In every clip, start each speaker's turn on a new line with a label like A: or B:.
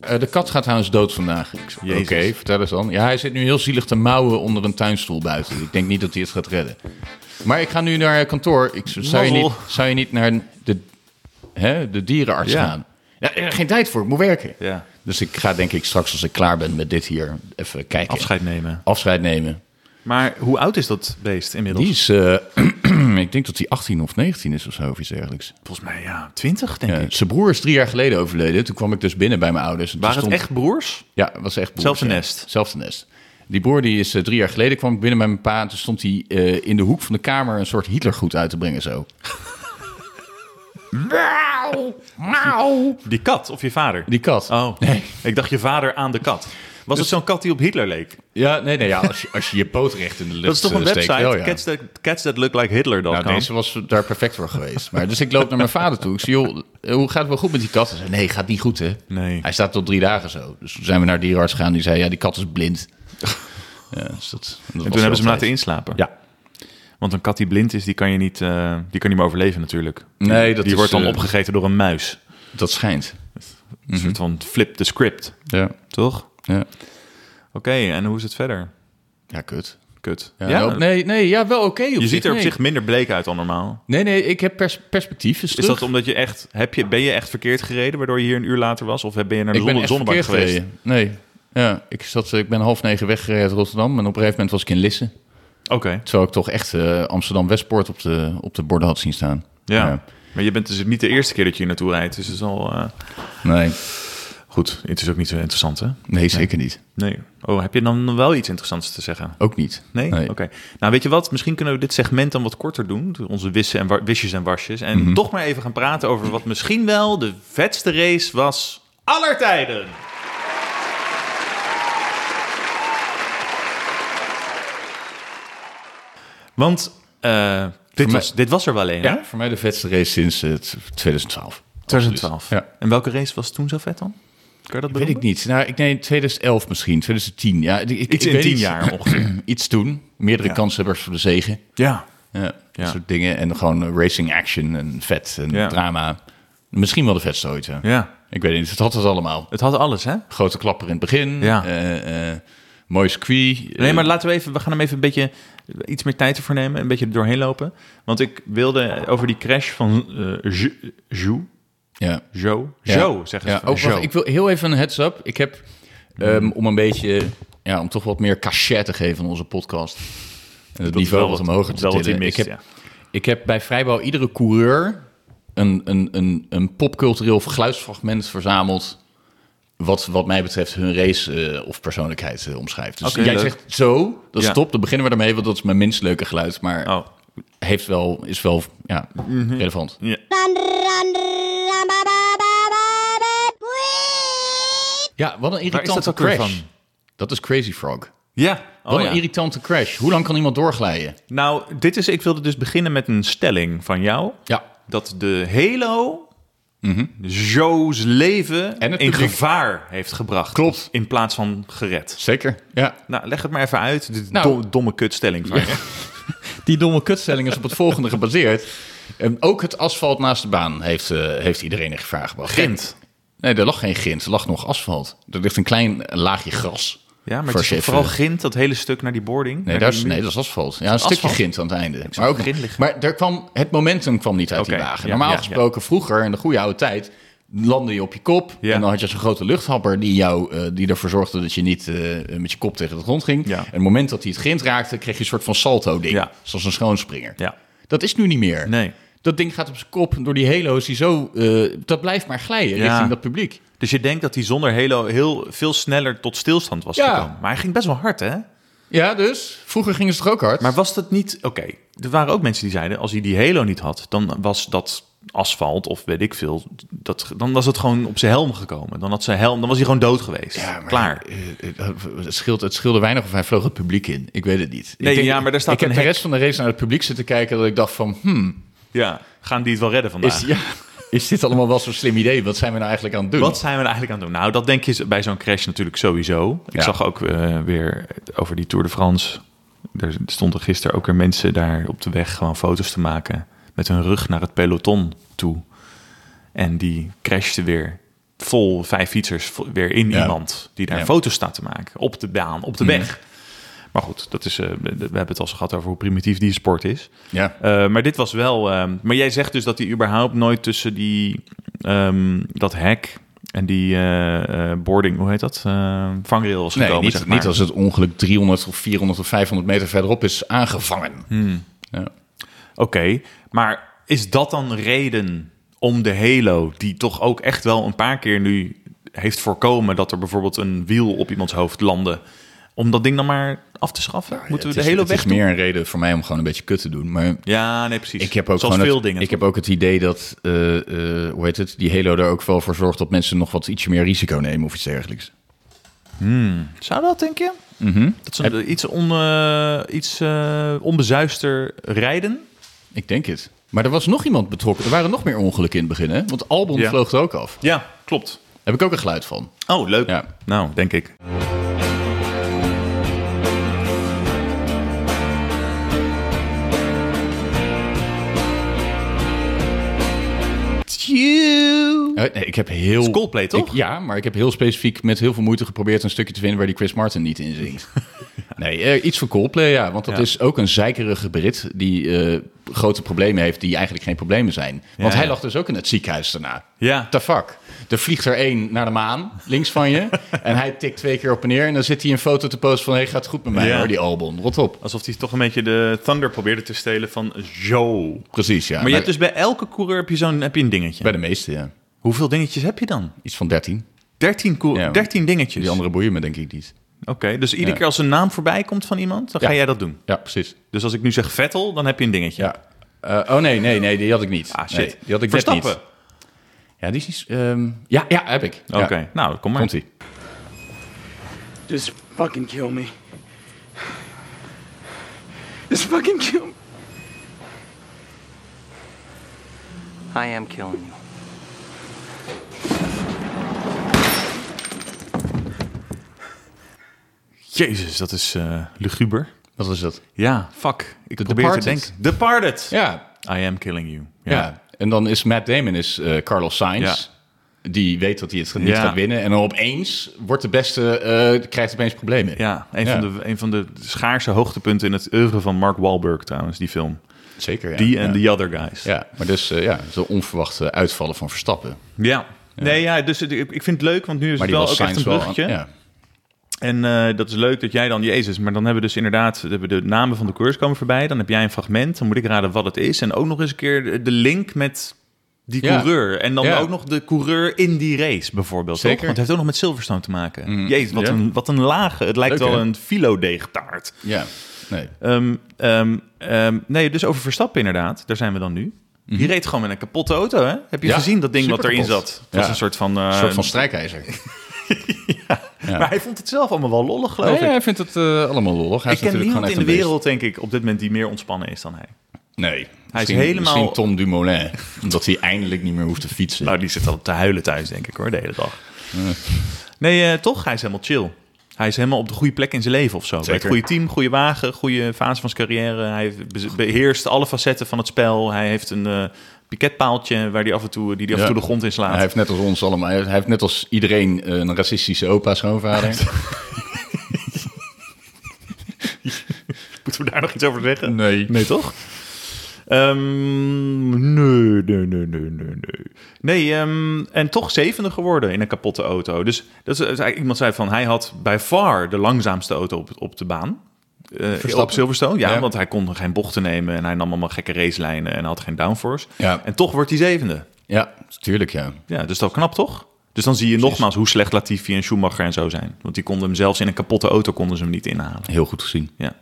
A: Eh, de kat gaat trouwens dood vandaag. Ik zei, Oké,
B: Jezus.
A: vertel eens dan. Ja, hij zit nu heel zielig te mouwen onder een tuinstoel buiten. Ik denk niet dat hij het gaat redden. Maar ik ga nu naar eh, kantoor. Ik, z- zou, je
B: Mazzel.
A: niet, zou je niet naar de, hè, de dierenarts
B: Ja.
A: gaan? Ja, er is geen tijd voor, ik moet werken.
B: Ja.
A: Dus ik ga denk ik straks als ik klaar ben met dit hier even kijken.
B: Afscheid nemen.
A: Afscheid nemen.
B: Maar hoe oud is dat beest inmiddels?
A: Die is, eh, ik denk dat hij 18 of 19 is of zo, of iets dergelijks.
B: volgens mij ja, 20 denk
A: Ja,
B: ik.
A: zijn broer is drie jaar geleden overleden. Toen kwam ik dus binnen bij mijn ouders. En toen
B: Waren het
A: stond-
B: echt broers?
A: Ja, het was echt broers,
B: Zelfde
A: ja.
B: nest.
A: Zelfde nest. Die broer die is eh, drie jaar geleden kwam ik binnen bij mijn pa. En toen stond hij eh, in de hoek van de kamer een soort Hitlergoed uit te brengen zo. Miauw, miauw.
B: Die kat of je vader?
A: Die kat.
B: Oh,
A: Nee. Dus-
B: ik dacht je vader aan de kat. Was het zo'n kat die op Hitler leek?
A: Ja, nee, nee. Ja, als, je, als je je poot recht in de lucht
B: Dat is toch een
A: eh, steekt,
B: website?
A: wel, ja.
B: cats, that, cats that look like Hitler.
A: Nou, deze was daar perfect voor geweest. Maar dus ik loop naar mijn vader toe. Ik zeg, joh, eh, hoe gaat het wel goed met die kat? Hij zei, nee, gaat niet goed, hè?
B: Nee.
A: Hij staat tot drie dagen zo. Dus toen zijn we naar de dierenarts gegaan. Die zei, ja, die kat is blind. Ja, dus dat, dat was
B: En
A: wel
B: toen hebben ze hem
A: tijd.
B: laten inslapen.
A: Ja.
B: Want een kat die blind is, die kan je niet, eh, die kan niet meer overleven natuurlijk.
A: Nee,
B: Die-
A: dat
B: die
A: is,
B: wordt dan
A: eh, Mhm.
B: opgegeten door een muis.
A: Dat schijnt.
B: Een soort van flip the script,
A: Ja,
B: toch? Oké,
A: ja.
B: en hoe is het verder?
A: Ja, kut.
B: Kut.
A: Ja, nou, Nee, nee, ja, wel oké. op
B: Je
A: zich,
B: ziet er op
A: nee.
B: zich minder bleek uit dan normaal.
A: Nee, nee, ik heb pers- perspectief. Is,
B: Is
A: terug.
B: dat omdat je echt... Heb je, ben je echt verkeerd gereden, waardoor je hier een uur later was? Of ben je naar de
A: ik ben
B: zonne,
A: echt
B: zonnebank
A: verkeerd
B: geweest?
A: gereden. Nee. Ja, ik, zat, ik ben half negen weggereden uit Rotterdam. En op een gegeven moment was ik in Lissen.
B: Oké,
A: Terwijl ik toch echt eh, Amsterdam-Westpoort op de, op de borden had zien staan.
B: ja. Maar je bent dus niet de eerste keer dat je hier naartoe rijdt. Dus het is al... eh,
A: Nee,
B: Goed, het is ook niet zo interessant, hè?
A: nee zeker niet.
B: Nee. Oh, heb je dan wel iets interessants te zeggen?
A: Ook niet.
B: Nee? Oké. Nou, weet je wat? Misschien kunnen we dit segment dan wat korter doen. Onze wissen en wa- wisjes en wasjes. En
A: Mhm.
B: toch maar even gaan praten over wat misschien wel de vetste race was aller tijden. Want eh, dit,
A: mij-
B: was, dit was er wel een, hè?
A: Ja, voor mij de vetste race sinds eh, 2012.
B: 2012.
A: Ja.
B: En welke race was toen zo vet dan? Kan je dat
A: Weet ik
B: benoemen?
A: niet. Nou, ik nee, 2011 misschien, 2010. Ja, ik, ik,
B: Iets
A: ik
B: in
A: weet
B: tien
A: niet.
B: jaar ongeveer.
A: Iets toen. Meerdere
B: Ja.
A: kanshebbers voor de zegen.
B: ja.
A: Ja, dat
B: Ja.
A: soort dingen. En gewoon eh, racing action en vet en
B: Ja.
A: drama. Misschien wel de vetste ooit. hè.
B: Ja.
A: Ik weet niet, het had het allemaal.
B: Het had alles, hè?
A: Grote klapper in het begin.
B: Ja.
A: eh, eh, mooi eh, squee.
B: Nee, maar laten we even, we gaan hem even een beetje eh, iets meer tijd ervoor nemen, een beetje er doorheen lopen. Want ik wilde over die crash van eh Jo, Jo,
A: ja.
B: Jo,
A: Ja.
B: Jo, zeggen ze. Mhm.
A: Ja, ook,
B: Jo.
A: wacht, ik wil heel even een heads up. Ik heb, ehm, om een beetje, ja, om toch wat meer cachet te geven aan onze podcast. En het
B: Dat is
A: niveau
B: wel
A: wat omhoog te
B: wel wat
A: tillen.
B: hij
A: Ik
B: mist,
A: heb,
B: ja.
A: ik heb bij vrijwel iedere coureur een, een, een, een popcultureel geluidsfragment verzameld... Wat, wat mij betreft hun race eh, of persoonlijkheid eh, omschrijft. Dus
B: Oké,
A: jij
B: leuk.
A: zegt zo, dat is
B: Ja.
A: top, dan beginnen we ermee... want dat is mijn minst leuke geluid, maar
B: Oh, Mhm.
A: heeft wel, is wel ja, relevant.
B: ja.
C: Run, run, run, ba, ba, ba, ba, ba, wee.
A: Ja, wat een
B: Waar is
A: irritante
B: dat ook weer
A: crash.
B: van?
A: Dat is Crazy Frog.
B: Ja,
A: Wat
B: oh,
A: een
B: ja.
A: irritante crash. Hoe lang kan iemand doorglijden?
B: Nou, dit is, ik wilde dus beginnen met een stelling van jou.
A: Ja.
B: Dat de Halo Jo's leven
A: Mhm. En het
B: in
A: publiek.
B: gevaar heeft gebracht.
A: Klopt.
B: In plaats van gered.
A: Zeker. Ja.
B: Nou, leg het maar even uit, de
A: Nou.
B: domme kutstelling van je.
A: Die domme kutstelling is op het volgende gebaseerd. En ook het asfalt naast de baan heeft, eh, heeft iedereen in gevaar gebracht.
B: Grind.
A: Nee, er lag geen grind. Er lag nog asfalt. Er ligt een klein laagje gras.
B: Ja,
A: Voor
B: maar het
A: als
B: is
A: je
B: toch
A: even-
B: vooral grind, dat hele stuk naar die boarding.
A: eh. Nee,
B: Naar
A: daar
B: die
A: is,
B: muur.
A: nee, dat is asfalt. Ja, een
B: Asfalt?
A: stukje grind aan het einde.
B: zag
A: Maar, ook,
B: grind liggen.
A: maar er kwam, het momentum kwam niet uit
B: Oké,
A: die wagen.
B: ja,
A: Normaal
B: ja, ja.
A: gesproken vroeger, in de goede oude tijd, landde je op je kop.
B: Ja.
A: En dan had je zo'n grote luchthapper die, jou, eh, die ervoor zorgde dat je niet eh, met je kop tegen de grond ging.
B: Ja.
A: En het moment dat hij het grind raakte, kreeg je een soort van salto-ding.
B: Ja.
A: Zoals een schoonspringer.
B: Ja.
A: Dat is nu niet meer.
B: Nee.
A: Dat ding gaat op zijn kop door die helo's die zo... eh, dat blijft maar glijden
B: Ja.
A: richting dat publiek.
B: Dus je denkt dat hij zonder Halo heel veel sneller tot stilstand was
A: Ja.
B: gekomen. Maar hij ging best wel hard, hè?
A: Ja, dus vroeger gingen ze toch ook hard?
B: Maar was dat niet... Oké, er waren ook mensen die zeiden... als hij die Halo niet had, dan was dat asfalt of weet ik veel... Dat, dan was het gewoon op zijn helm gekomen. Dan, had zijn helm, dan was hij gewoon dood geweest.
A: Ja, maar,
B: Klaar.
A: eh, eh, het, scheelde, het scheelde weinig of hij vloog het publiek in. Ik weet het niet.
B: Nee,
A: ik
B: ja, maar daar staat
A: ik heb
B: een
A: de
B: hek.
A: rest van de race naar het publiek zitten kijken... dat ik dacht van, hmm,
B: Ja, gaan die het wel redden vandaag?
A: is, ja, is dit allemaal wel zo'n slim idee? Wat zijn we nou eigenlijk aan het doen?
B: Wat zijn we nou eigenlijk aan het doen? Nou, dat denk je bij zo'n crash natuurlijk sowieso. Ik
A: Ja.
B: zag ook eh, weer over die Tour de France. Er stonden gisteren ook weer mensen daar op de weg gewoon foto's te maken. met hun rug naar het peloton toe. En die crashte weer vol vijf fietsers vo- weer in
A: Ja.
B: iemand die daar
A: Ja.
B: foto's staat te maken. Op de baan, op de weg. Maar goed, dat is, eh, we we hebben het al eens gehad over hoe primitief die sport is.
A: Ja.
B: Eh, maar dit was wel. ehm, maar jij zegt dus dat hij überhaupt nooit tussen die. ehm, dat hek en die eh, eh, boarding, hoe heet dat? eh, vangrail was
A: Nee,
B: gekomen.
A: niet,
B: zeg maar.
A: niet als het ongeluk 300 of 400 of 500 meter verderop is aangevangen.
B: Hmm.
A: Ja.
B: Oké, maar is dat dan reden om de Halo, die toch ook echt wel een paar keer nu heeft voorkomen dat er bijvoorbeeld een wiel op iemands hoofd landde, om dat ding dan maar af te schaffen? Moeten we
A: Nou, Het
B: de
A: is,
B: Halo
A: het
B: weg
A: is meer een reden voor mij om gewoon een beetje kut te doen. Maar
B: Ja, nee, precies.
A: ik heb ook,
B: Zoals
A: gewoon
B: veel
A: het,
B: dingen.
A: ik heb ook het idee dat, eh, eh, hoe heet het, die Halo er ook wel voor zorgt dat mensen nog wat ietsje meer risico nemen of iets dergelijks.
B: Zou dat, denk je?
A: Mhm.
B: Dat ze een- iets, on, eh, iets eh, onbezuister rijden?
A: Ik denk het. Maar er was nog iemand betrokken. Er waren nog meer ongelukken in het begin, hè? Want Albon
B: Ja.
A: vloog er ook af.
B: Ja, klopt.
A: Heb ik ook een geluid van.
B: Oh, leuk.
A: Ja.
B: Nou, denk ik.
A: Eh, nee, ik heb heel...
B: is Coldplay, toch?
A: Ik- ja, maar ik heb heel specifiek met heel veel moeite geprobeerd een stukje te vinden waar die Chris Martin niet in zingt. nee, eh, iets van Coldplay, ja. Want dat
B: Ja.
A: is ook een zeikerige Brit die eh, grote problemen heeft die eigenlijk geen problemen zijn. Want
B: Ja,
A: hij
B: ja.
A: lag dus ook in het ziekenhuis daarna.
B: Ja.
A: The fuck? Er vliegt er één naar de maan, links van je. en hij tikt twee keer op en neer. En dan zit hij een foto te posten van... hey, gaat goed met mij
B: Ja.
A: hoor, die Albon. Rot op.
B: Alsof hij toch een beetje de thunder probeerde te stelen van Joe. Maar,
A: Precies, ja.
B: je hebt dus bij elke coureur heb je, zo'n, heb je een dingetje.
A: Bij de meeste, ja.
B: Hoeveel dingetjes heb je dan?
A: Iets van 13.
B: 13, cour-
A: Ja, maar-
B: 13 dingetjes.
A: Die andere boeien me denk ik niet.
B: Oké, dus iedere
A: Ja.
B: keer als een naam voorbij komt van iemand, dan ga
A: Ja.
B: jij dat doen.
A: Ja, precies.
B: Dus als ik nu zeg Vettel, dan heb je een dingetje.
A: Ja. Eh, oh nee, nee, nee, die had ik niet.
B: Ah, shit.
A: Nee, die had ik net
B: Verstappen.
A: niet. Ja, die is niet- ehm, ja, ja, heb ik.
B: Oké, nou, kom maar.
A: Komt ie.
D: Just fucking kill me. Just fucking kill me.
E: I am killing you.
B: Jezus, dat is eh, luguber.
A: Wat was dat?
B: Ja, fuck. Ik
A: The
B: probeer te
A: Departed.
B: denken. Departed.
A: Ja,
B: I am killing you.
A: ja. En dan is Matt Damon is, eh, Carlos Sainz. Die weet dat hij het niet
B: Ja.
A: gaat winnen. En dan opeens wordt de beste, eh, krijgt opeens problemen.
B: Ja, een,
A: Ja.
B: Van de, een van de schaarse hoogtepunten in het oeuvre van Mark Wahlberg trouwens, die film.
A: Zeker, ja.
B: Die
A: ja.
B: en The Other Guys.
A: Ja, maar dus eh, ja, zo onverwachte uitvallen van Verstappen.
B: Ja. Nee, ja, dus het- ik ik vind het leuk, want nu is
A: Maar die
B: het wel
A: was
B: ook echt een
A: Sainz wel... aan-
B: bruggetje.
A: Ja,
B: En eh, dat is leuk dat jij dan, jezus, maar dan hebben we dus inderdaad we hebben de namen van de coureurs komen voorbij. Dan heb jij een fragment, dan moet ik raden wat het is. En ook nog eens een keer de- de link met die
A: Ja.
B: coureur. En dan
A: Ja.
B: ook nog de coureur in die race bijvoorbeeld. Toch?
A: Zeker. Mm.
B: Want het heeft ook nog met Silverstone te maken. Jezus, wat,
A: Ja.
B: een, wat een lage. Het lijkt
A: Leuk,
B: wel
A: hè?
B: een filodeegtaart.
A: ja. Nee.
B: Ehm, ehm, ehm, nee, dus over Verstappen inderdaad. Daar zijn we dan nu. Die reed gewoon met een kapotte auto, hè? Heb je
A: Mhm. Ja,
B: gezien dat ding wat erin
A: superkapot.
B: zat? Het was
A: Ja.
B: een soort van... eh,
A: Een soort van strijkijzer.
B: Maar hij vond het zelf allemaal wel lollig, geloof Oh, ik.
A: hij vindt het eh, allemaal lollig. Hij
B: Ik
A: is natuurlijk
B: ken
A: gewoon
B: niemand
A: echt
B: in de
A: een beest.
B: wereld, denk ik, op dit moment die meer ontspannen is dan hij.
A: Nee.
B: Hij is
A: Misschien-
B: helemaal-
A: Misschien Tom Dumoulin. Omdat hij eindelijk niet meer hoeft te fietsen.
B: Nou, die zit al te huilen thuis, denk ik hoor, de hele dag. Nee, eh, toch? Hij is helemaal chill. Hij is helemaal op de goede plek in zijn leven of zo. Bij het
A: Zeker.
B: goede team, goede wagen, goede fase van zijn carrière. Hij be- beheerst alle facetten van het spel. Hij heeft een eh, piketpaaltje waar die af en toe, die die af en
A: Ja.
B: toe de grond in slaat.
A: Hij heeft net als ons allemaal, hij heeft net als iedereen eh, een racistische opa schoonvader.
B: Moeten we daar nog iets over zeggen?
A: Nee.
B: Nee, toch? Ehm, nee, nee, nee, nee, nee, nee. Nee, ehm, en toch zevende geworden in een kapotte auto. Dus dat is, dat is eigenlijk- iemand zei van, hij had bij far de langzaamste auto op, op de baan. Eh, op Silverstone, ja,
A: Ja.
B: want hij kon geen bochten nemen en hij nam allemaal gekke racelijnen en had geen downforce.
A: Ja.
B: En toch wordt hij zevende.
A: ja, tuurlijk ja.
B: Ja, dus dat is knap toch? Dus dan zie je nogmaals hoe slecht Latifi en Schumacher en zo zijn. Want die konden hem zelfs in een kapotte auto konden ze hem niet inhalen.
A: Heel goed gezien.
B: Ja.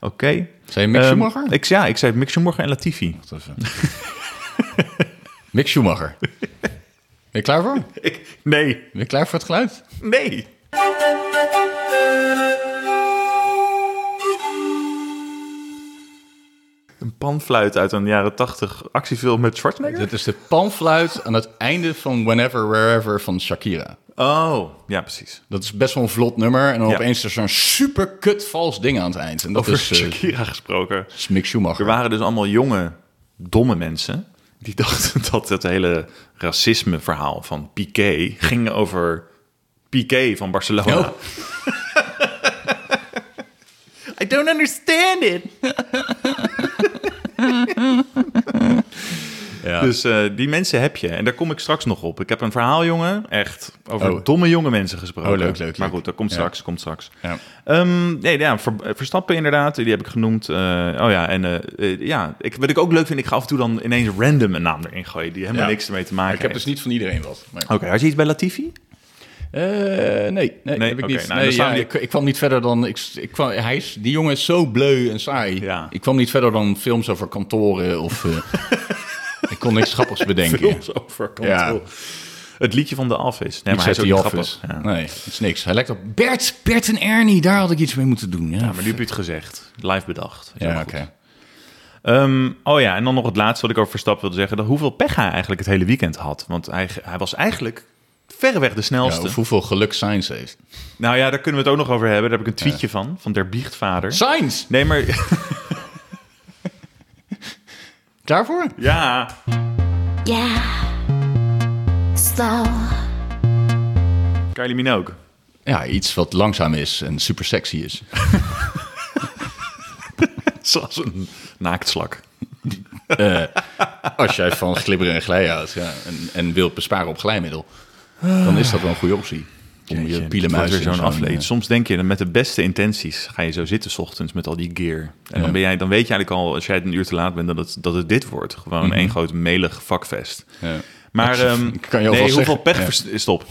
B: Oké.
A: Zijn je Mick
B: Ehm,
A: Schumacher?
B: Ik, ja, ik zei Mick Schumacher en Latifi.
A: Even. eh. Mick Schumacher. Ben je klaar voor?
B: Ik- nee,
A: Ben je klaar voor het geluid?
B: nee. Een panfluit uit een jaren tachtig actiefilm met Schwarzenegger?
A: Dit is de panfluit aan het einde van Whenever, Wherever van Shakira.
B: Oh, ja, precies.
A: Dat is best wel een vlot nummer. En dan
B: Ja.
A: opeens is er zo'n super kut vals ding aan het eind. En dat
B: Over
A: is, eh,
B: Shakira gesproken.
A: is Mick
B: Dus, Er
A: Schumacher.
B: waren dus allemaal jonge domme mensen. Die dachten dat het hele racisme verhaal van Piqué ging over Piqué van Barcelona.
A: Oh.
B: I don't understand it.
A: Ja.
B: Dus eh, die mensen heb je. En daar kom ik straks nog op. Ik heb een verhaal, jongen. Echt. Over
A: Oh.
B: domme jonge mensen gesproken.
A: Oh, leuk, leuk, leuk.
B: Maar goed, dat komt
A: Ja.
B: straks. Komt straks.
A: Ja.
B: Ehm, nee, ja, Ver- Verstappen inderdaad, die heb ik genoemd. Eh, oh ja, en eh, eh, ja, ik, wat ik ook leuk vind, ik ga af en toe dan ineens random een naam erin gooien die helemaal
A: Ja.
B: niks ermee te maken
A: Ik heb dus
B: heeft.
A: niet
B: Ah.
A: van iedereen wat. maar-
B: Oké, had je iets bij Latifi?
A: Eh, nee, nee, heb ik
B: oké,
A: niet.
B: nou,
A: nee,
B: dan staan
A: ja,
B: we-
A: ik, ik kwam niet verder dan... Ik, ik kwam, hij is, die jongen is zo bleu en saai.
B: Ja.
A: Ik kwam niet verder dan films over kantoren of... eh, ik kon niks grappigs bedenken.
B: Films over kantoor.
A: Ja.
B: Het liedje van de Office. Nee,
A: Iets
B: maar hij
A: uit
B: is ook
A: The
B: niet
A: Office.
B: grappig. Ja.
A: Nee, het is niks. Hij lijkt op Bert, Bert en Ernie. Daar had ik iets mee moeten doen. Ja,
B: Ja, maar nu heb je het gezegd. Live bedacht. Is
A: Ja,
B: ook
A: oké.
B: goed. Ehm, oh ja, en dan nog het laatste wat ik over Verstappen wilde zeggen. Dat hoeveel pech hij eigenlijk het hele weekend had. Want hij, hij was eigenlijk verreweg de
A: Ja,
B: snelste.
A: of hoeveel geluk Sainz heeft.
B: nou ja, daar kunnen we het ook nog over hebben. Daar heb ik een tweetje van, van der biechtvader.
A: Sainz!
B: Nee, maar...
A: Klaar voor?
B: Ja,
C: Yeah. Slow.
B: Kylie Minogue.
A: Ja, iets wat langzaam is en super sexy is.
B: Zoals een naaktslak.
A: Als jij van glibberen en glij houdt ja, en, en wilt besparen op glijmiddel, dan is dat wel een goede optie. Om je
B: Wordt
A: pielenmuis
B: weer
A: in
B: zo'n afleed.
A: eh,
B: Soms denk je, dan met de beste intenties ga je zo zitten 's ochtends met al die gear. En dan, ben jij, dan weet je eigenlijk al, als jij een uur te laat bent, dat het, dat het dit wordt. Gewoon één groot melig vakfest.
A: Mhm. eh, Ja.
B: Maar
A: Ik
B: ehm,
A: kan je ook
B: nee,
A: wel
B: hoeveel,
A: zeggen.
B: pech
A: Ja.
B: vers- stop.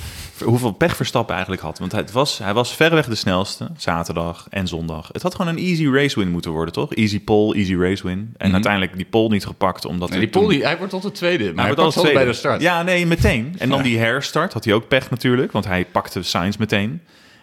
B: hoeveel pech Verstappen eigenlijk had. Want het was, hij was verreweg de snelste, zaterdag en zondag. Het had gewoon een easy race win moeten worden, toch? Easy pole, easy race win. En uiteindelijk die pole niet gepakt, omdat
A: Mhm. nee,
B: er
A: die Paul,
B: toen-
A: die, hij wordt altijd tweede, maar hij,
B: wordt
A: wordt altijd bij de
B: tweede.
A: start.
B: Ja, nee, meteen. En dan die herstart had hij ook pech natuurlijk, want hij pakte Sainz meteen.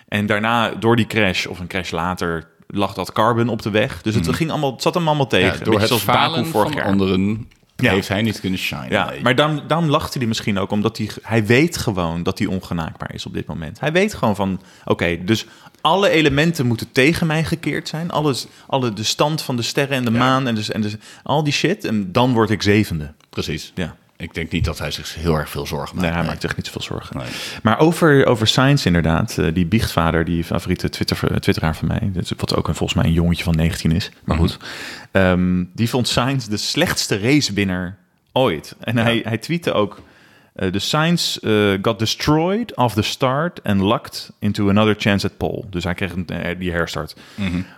B: En daarna, door die crash of een crash later, lag dat Carbon op de weg. Dus het, ging allemaal, het zat hem allemaal tegen.
A: Mhm. Ja,
B: Een
A: door
B: beetje
A: het
B: zoals Baku
A: falen
B: vorig
A: van
B: jaar.
A: anderen
B: Ja.
A: heeft hij niet kunnen shine.
B: Ja,
A: Nee.
B: maar daarom, daarom lachte hij misschien ook, omdat hij, hij weet gewoon dat hij ongenaakbaar is op dit moment. Hij weet gewoon van, oké, dus alle elementen moeten tegen mij gekeerd zijn. Alles, alle, de stand van de sterren en de maan en, dus, en dus, al die shit. En dan word ik zevende.
A: precies.
B: Ja.
A: Ik denk niet dat hij zich heel erg veel zorgen maakt.
B: Nee, hij
A: Nee.
B: maakt zich niet zoveel zorgen.
A: Nee.
B: Maar over, over Science inderdaad. eh, die biechtvader, die favoriete Twitter, eh, Twitteraar van mij. dus Wat ook een, volgens mij een jongetje van 19 is. Maar goed. Ehm, die vond Science de slechtste racewinner ooit. En hij, hij tweette ook... eh, the Science eh, got destroyed off the start and lucked into another chance at pole. Dus hij kreeg een, eh, die herstart.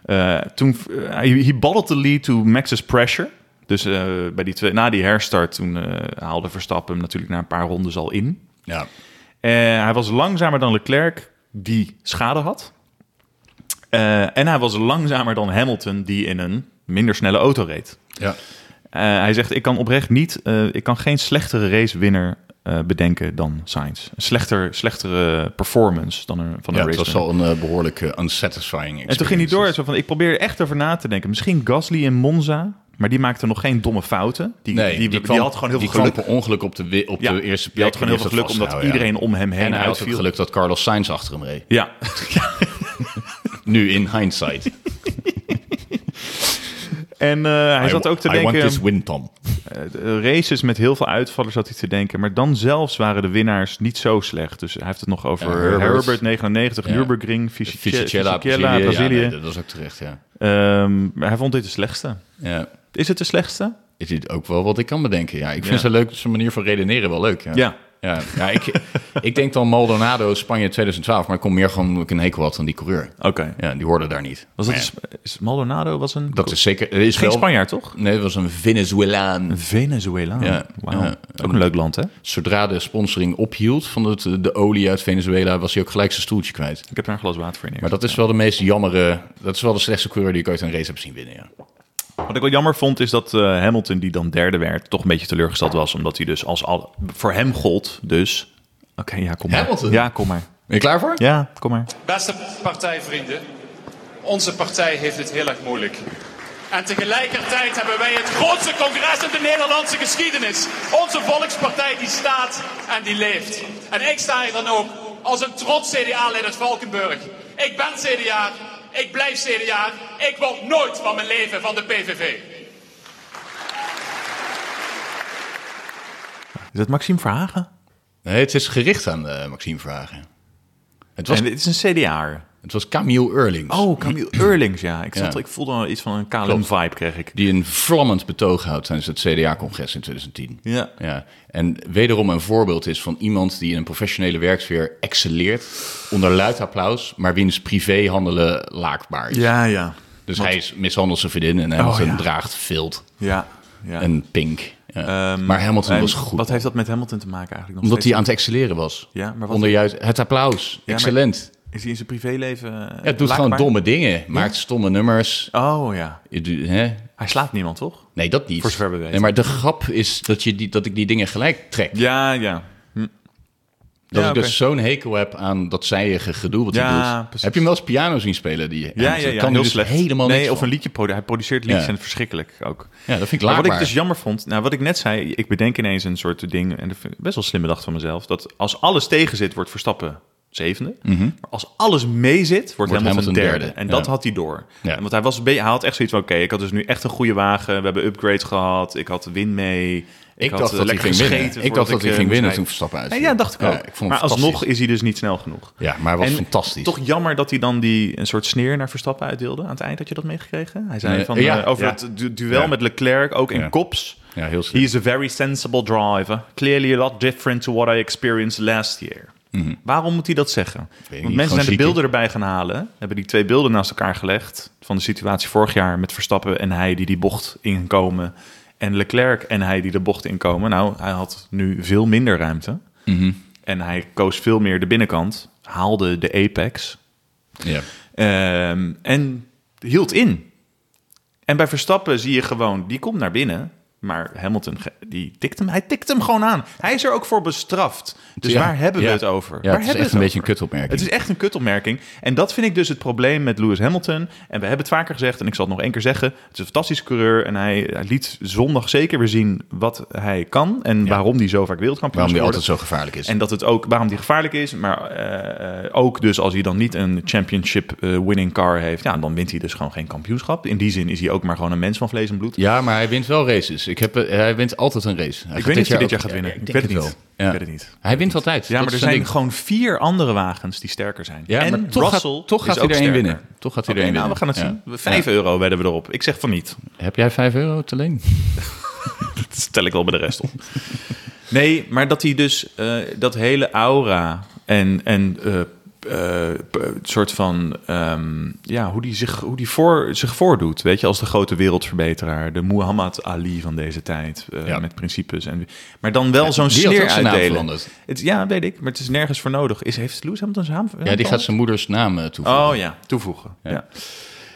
B: Eh, toen, eh, hij he bottled the lead to Max's pressure. Dus eh, bij die twee, na die herstart, toen eh, haalde Verstappen hem natuurlijk na een paar rondes al in.
A: Ja.
B: Eh, hij was langzamer dan Leclerc, die schade had. Eh, en hij was langzamer dan Hamilton, die in een minder snelle auto reed.
A: Ja.
B: Eh, hij zegt, ik kan oprecht niet, eh, ik kan geen slechtere racewinner eh, bedenken dan Sainz. Een slechter, slechtere performance dan een, van een
A: ja, het was
B: racewinner.
A: al een eh, behoorlijke unsatisfying
B: En
A: experience.
B: toen ging hij door, zo van, ik probeerde echt over na te denken. Misschien Gasly in Monza, maar die maakte nog geen domme fouten. Die,
A: Nee,
B: die, die,
A: kwam-
B: had gewoon heel
A: die
B: veel geluk.
A: kwam per ongeluk op de, wi- op
B: Ja,
A: de eerste plek.
B: die had gewoon heel
A: en
B: veel
A: heeft dat
B: geluk omdat
A: vastgehouden, Nou ja.
B: iedereen om hem heen
A: En hij had het
B: uitviel.
A: geluk dat Carlos Sainz achter hem reed.
B: Ja,
A: Nu in hindsight.
B: en eh, hij
A: I
B: zat
A: wa-
B: ook te
A: I
B: denken...
A: want this win, Tom.
B: Eh, races met heel veel uitvallers zat hij te denken. Maar dan zelfs waren de winnaars niet zo slecht. Dus hij heeft het nog over
A: Ja,
B: Herbert.
A: Herbert.
B: 99,
A: Ja.
B: Nürburgring,
A: Fisichella,
B: Fisichella,
A: Brazilië.
B: Brazilië.
A: Ja, nee, dat was ook terecht, ja.
B: Ehm, maar hij vond dit de slechtste.
A: ja.
B: Is het de slechtste?
A: Is dit ook wel wat ik kan bedenken? Ja, ik vind
B: Ja.
A: zijn, leuk, zijn manier van redeneren wel leuk. Ja.
B: Ja.
A: Ja, ja, ik, ik denk dan Maldonado, Spanje 2012. Maar ik kom meer gewoon omdat ik een hekel had aan die coureur.
B: Oké.
A: Ja, die hoorde daar niet.
B: Was dat
A: Maar ja,
B: een- is Maldonado was een...
A: dat is zeker... Er is
B: geen
A: wel-
B: Spanjaard, toch?
A: Nee, het was een Venezolaan.
B: Venezuela.
A: Ja.
B: Wauw.
A: Ja.
B: Ook een leuk land, hè?
A: Zodra de sponsoring ophield van het, eh, de olie uit Venezuela, was hij ook gelijk zijn stoeltje kwijt.
B: Ik heb daar een glas water voor in.
A: Maar dat is wel de meest jammere. Dat is wel de slechtste coureur die ik ooit een race heb zien winnen. Ja.
B: Wat ik wel jammer vond is dat eh, Hamilton, die dan derde werd, toch een beetje teleurgesteld was. Omdat hij dus als al... Voor hem gold dus... Oké, ja, kom maar.
A: Hamilton?
B: Ja, kom maar.
A: Ben je klaar voor?
B: Ja, kom maar.
F: Beste partijvrienden, onze partij heeft het heel erg moeilijk. En tegelijkertijd hebben wij het grootste congres in de Nederlandse geschiedenis. Onze volkspartij die staat en die leeft. En ik sta hier dan ook als een trots CDA-leider uit Valkenburg. Ik ben CDA, ik blijf CDA, ik word nooit van mijn leven van de PVV.
B: Is dat Maxime Verhagen?
A: Nee, het is gericht aan eh, Maxime Vragen. Het was,
B: En dit is een CDA'er.
A: het was Camille Eurlings.
B: Oh, Camille Eurlings, ja. Ik, zat,
A: Ja.
B: ik voelde al iets van een KLM-vibe, kreeg ik.
A: Die een vlammend betoog houdt tijdens het CDA-congres in 2010.
B: Ja.
A: ja. En wederom een voorbeeld is van iemand die in een professionele werksfeer excelleert. onder luid applaus, maar wiens privéhandelen laakbaar is.
B: Ja, ja.
A: Dus hij is, mishandelt zijn vriendin en Hamilton
B: Oh, ja.
A: draagt vilt
B: Ja, ja.
A: en pink. Ja.
B: Ehm,
A: maar Hamilton
B: en
A: was goed.
B: Wat heeft dat met Hamilton te maken eigenlijk? Nog
A: omdat hij
B: steeds?
A: aan het excelleren was.
B: Ja, maar wat-
A: Onder juist het applaus.
B: maar-
A: Excellent.
B: Is hij in zijn privéleven... eh,
A: Ja, het doet
B: laakbaar?
A: gewoon domme dingen. Maakt stomme nummers.
B: Oh, ja.
A: Je doet- hè?
B: Hij slaat niemand, toch?
A: Nee, dat niet.
B: Voor zover we weten.
A: Nee, maar de grap is dat, je die, dat ik die dingen gelijk trek.
B: Ja, ja.
A: Dat
B: Ja,
A: ik
B: oké.
A: dus zo'n hekel heb aan dat zijige gedoe wat hij
B: Ja,
A: doet.
B: precies.
A: Heb je hem wel eens piano zien spelen? Die
B: Ja, ja, ja.
A: Kan
B: heel
A: dus
B: slecht.
A: helemaal
B: Nee,
A: niks
B: of
A: van.
B: een liedje produceren. Hij produceert liedjes
A: Ja.
B: en het is verschrikkelijk ook.
A: Ja, dat vind ik
B: Maar wat ik
A: laakbaar.
B: dus jammer vond, nou wat ik net zei, ik bedenk ineens een soort ding, en dat vind ik best wel een slimme dag van mezelf, dat als alles tegen zit, wordt Verstappen zevende. Maar als alles mee zit, wordt, Hamilton,
A: Mhm. Hamilton
B: derde.
A: derde,
B: En
A: ja.
B: dat had hij door.
A: Ja.
B: Want hij, was, een beetje- hij had echt zoiets van, oké, ik had dus nu echt een goede wagen, we hebben upgrades gehad, ik had win mee.
A: Ik
B: had
A: dacht
B: eh,
A: dat hij
B: lekker
A: ging winnen.
B: gescheten
A: Ik dacht
B: voordat
A: dat hij
B: eh,
A: ging winnen
B: moest rijden.
A: toen Verstappen uit.
B: Nee, ja, dacht ik
A: Ja,
B: ook.
A: ik vond het
B: maar
A: fantastisch.
B: alsnog is hij dus niet snel genoeg.
A: Ja, maar wat
B: En
A: fantastisch.
B: Toch jammer dat hij dan die een soort sneer naar Verstappen uitdeelde aan het eind. Had je dat meegekregen? Hij zei
A: Nee,
B: van,
A: eh, ja,
B: eh, over
A: ja.
B: het du- duel
A: Ja.
B: met Leclerc, ook in
A: Ja.
B: kops.
A: Ja, heel slim.
B: He is a very sensible driver. Clearly a lot different to what I experienced last year.
A: Mhm.
B: Waarom moet hij dat zeggen?
A: niet,
B: Want mensen
A: gewoon
B: zijn de
A: ziek,
B: beelden erbij gaan halen. Hebben die twee beelden naast elkaar gelegd. Van de situatie vorig jaar met Verstappen en hij die die bocht inkomen. En Leclerc en hij die de bocht inkomen. Nou, hij had nu veel minder ruimte.
A: Mhm.
B: En hij koos veel meer de binnenkant. Haalde de apex.
A: Ja.
B: Ehm, en hield in. En bij Verstappen zie je gewoon, die komt naar binnen. Maar Hamilton, ge- die tikt hem, hij tikt hem gewoon aan. Hij is er ook voor bestraft. Dus
A: Ja,
B: waar hebben we
A: ja.
B: het over?
A: Ja,
B: waar
A: het is
B: hebben
A: echt een beetje een
B: over?
A: kutopmerking.
B: Het is echt een kutopmerking. En dat vind ik dus het probleem met Lewis Hamilton. En we hebben het vaker gezegd, en ik zal het nog één keer zeggen. Het is een fantastische coureur. En hij, hij liet zondag zeker weer zien wat hij kan. En waarom hij zo vaak wereldkampioen
A: Waarom
B: is
A: die
B: geworden.
A: altijd zo gevaarlijk is.
B: En dat het ook, waarom die gevaarlijk is, maar eh, eh, ook dus als hij dan niet een championship eh, winning car heeft, ja, dan wint hij dus gewoon geen kampioenschap. In die zin is hij ook maar gewoon een mens van vlees en bloed.
A: Ja, maar hij wint wel races. Ik heb, eh, hij wint altijd een race. Hij
B: ik
A: gaat
B: weet niet of hij dit jaar
A: ook-
B: gaat
A: Ja,
B: winnen.
A: ik
B: ik,
A: denk
B: weet het
A: het
B: niet.
A: wel. Ja.
B: ik weet het niet.
A: Hij wint altijd.
B: Ja,
A: Dat
B: maar er
A: is een
B: zijn
A: ding.
B: gewoon vier andere wagens die sterker zijn.
A: Ja,
B: en
A: maar toch gaat-
B: Russell
A: toch gaat
B: is
A: hij
B: ook
A: er één
B: sterker.
A: winnen. Toch gaat hij
B: Oké,
A: er één
B: nou, we gaan
A: winnen.
B: het zien.
A: Ja.
B: We- Vijf euro wedden we erop. Ik zeg van niet.
A: Heb jij 5 euro te leen?
B: Dat stel ik wel bij de rest op. Nee, maar dat hij dus eh, dat hele aura en, en eh, eh, p- eh, soort van ehm, ja, hoe die zich, hoe die voor, zich voordoet. Weet je, als de grote wereldverbeteraar, de Muhammad Ali van deze tijd. eh,
A: Ja.
B: Met principes. En, maar dan wel zo'n
A: die had
B: sneer
A: ook zijn naam
B: uitdelen.
A: veranderd.
B: Het, ja, weet ik, maar het is nergens voor nodig. Is, heeft Lewis Hamilton zijn naam
A: Ja, die gaat zijn moeders naam eh, toevoegen.
B: Oh ja, toevoegen. Ja.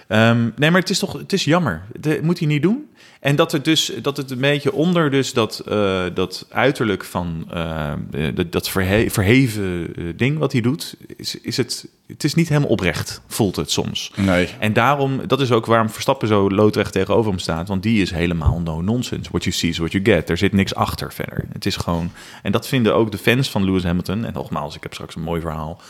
B: Ehm, nee, maar het is toch het is jammer. Dat moet hij niet doen. En dat het dus dat het een beetje onder dus dat, eh, dat uiterlijk van eh, eh, dat, dat verhe- verheven eh, ding wat hij doet, is, is het, het is niet helemaal oprecht, voelt het soms.
A: Nee.
B: En daarom, dat is ook waarom Verstappen zo loodrecht tegenover hem staat. Want die is helemaal no nonsense. What you see is what you get. Er zit niks achter verder. Het is gewoon. En dat vinden ook de fans van Lewis Hamilton. En nogmaals, ik heb straks een mooi verhaal.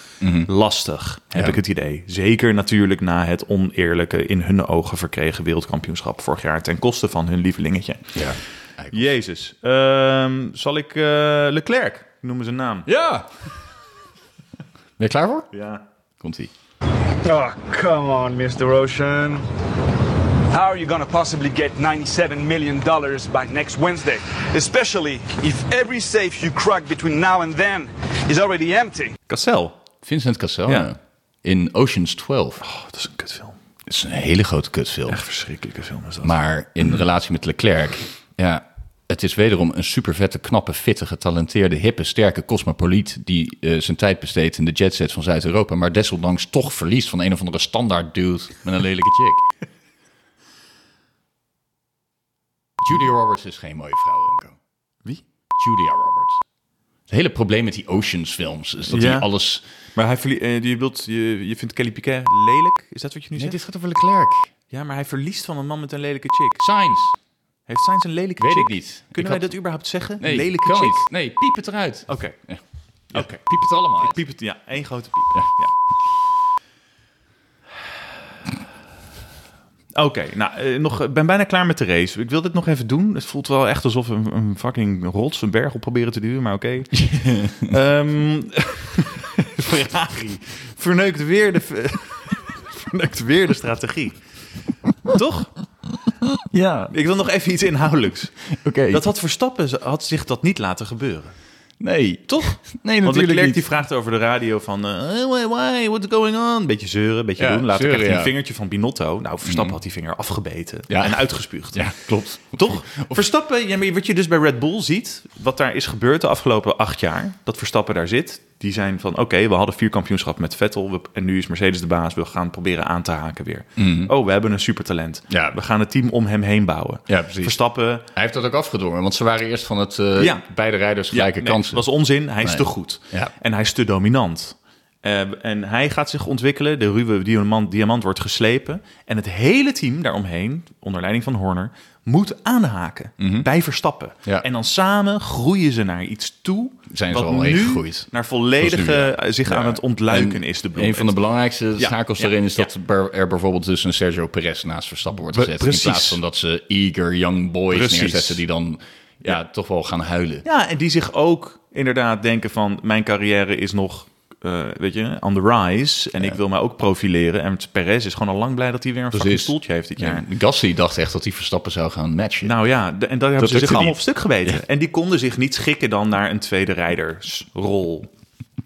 B: Lastig, heb
A: Ja.
B: ik het idee. Zeker natuurlijk na het oneerlijke, in hun ogen verkregen wereldkampioenschap vorig jaar. Ten koste van hun lievelingetje.
A: Ja.
B: Jezus. Ehm, zal ik eh, Leclerc noemen zijn naam?
A: Ja! Ben je klaar voor?
B: Ja.
A: Komt-ie.
G: Oh, come on, Mr. Ocean.
D: How are you gonna possibly get $97 million by next Wednesday? Especially if every safe you crack between now and then is already empty.
B: Cassel.
A: Vincent Cassel. eh,
B: Ja.
A: In Ocean's 12.
B: Oh, dat is een kutfilm.
A: Dat is een hele grote kutfilm.
B: Echt verschrikkelijke film is dat.
A: Maar in relatie met Leclerc, ja, het is wederom een supervette, knappe, fitte, getalenteerde, hippe, sterke cosmopoliet die eh, zijn tijd besteedt in de jetset van Zuid-Europa, maar desondanks toch verliest van een of andere standaard dude met een lelijke chick. Julia Roberts is geen mooie vrouw, Remco.
B: Wie?
A: Julia Roberts. Het hele probleem met die Oceans films is dat
B: Ja.
A: die alles...
B: Maar hij verlie- eh, je, wilt, je, je vindt Kelly Piquet lelijk? Is dat wat je nu
A: Nee,
B: zegt?
A: dit gaat over Leclerc.
B: Ja, maar hij verliest van een man met een lelijke chick.
A: Science.
B: Heeft Sainz een lelijke
A: Weet
B: chick?
A: ik niet. Ik
B: Kunnen wij
A: had-
B: dat überhaupt zeggen?
A: Nee,
B: Een lelijke
A: kan
B: chick?
A: niet. Nee, piep het eruit.
B: Oké.
A: Ja.
B: Oké.
A: Piep het allemaal uit.
B: Piep het. Ja, één grote piep. Ja. Oké, nou, eh, nog, ik ben bijna klaar met de race. Ik wil dit nog even doen. Het voelt wel echt alsof we een, een fucking rots, een berg op proberen te duwen, maar oké. Ehm, Ferrari verneukt weer de, verneukt weer de strategie. Toch?
A: Ja,
B: Ik wil nog even iets inhoudelijks.
A: oké.
B: Dat had Verstappen ze- had zich dat niet laten gebeuren.
A: Nee,
B: Toch?
A: nee
B: Want
A: natuurlijk
B: Leclerc
A: niet.
B: die vraagt over de radio van... eh, why, why, what's going on? Beetje zeuren, beetje
A: Ja,
B: doen. Later
A: zeuren,
B: krijgt hij een
A: ja. Mhm.
B: vingertje van Binotto. Nou, Verstappen had die vinger afgebeten
A: Ja.
B: en uitgespuugd.
A: Ja, klopt.
B: Toch? Verstappen, ja, maar wat je dus bij Red Bull ziet, wat daar is gebeurd de afgelopen acht jaar, dat Verstappen daar zit, die zijn van oké, we hadden vier kampioenschap met Vettel we- en nu is Mercedes de baas, we gaan proberen aan te haken weer. Oh, we hebben een supertalent.
A: Mhm. Ja.
B: We gaan het team om hem heen bouwen.
A: Ja, precies.
B: Verstappen,
A: Hij heeft dat ook afgedwongen, want ze waren eerst van het eh,
B: Ja.
A: beide rijders gelijke
B: nee,
A: kansen.
B: was onzin, hij is
A: Nee.
B: te goed.
A: Ja.
B: En hij is te dominant. Eh, en hij gaat zich ontwikkelen. De ruwe diamant, diamant wordt geslepen. En het hele team daaromheen, onder leiding van Horner, moet aanhaken bij Verstappen.
A: Mhm. Ja.
B: En dan samen groeien ze naar iets toe.
A: Zijn ze
B: wat
A: al heen
B: nu
A: gegroeid.
B: Naar volledige eh, zich
A: Ja.
B: aan het ontluiken
A: En
B: is de bloem.
A: Een van de belangrijkste schakels
B: ja,
A: daarin is dat er- er bijvoorbeeld dus een Sergio Perez naast Verstappen wordt
B: Pre-
A: gezet.
B: precies.
A: In plaats van dat ze eager young boys
B: Precies.
A: neerzetten die dan ja, toch wel gaan huilen.
B: Ja, en die zich ook inderdaad denken van... mijn carrière is nog, eh, weet je, on the rise. En ik wil mij ook profileren. En Perez is gewoon al lang blij dat hij weer een fucking stoeltje heeft dit jaar.
A: Dus Ja, Gasly dacht echt dat hij Verstappen zou gaan matchen.
B: Nou ja, de- en daar hebben ze
A: lukte
B: zich allemaal
A: niet.
B: op stuk geweten. En die konden zich niet schikken dan naar een tweede rijdersrol.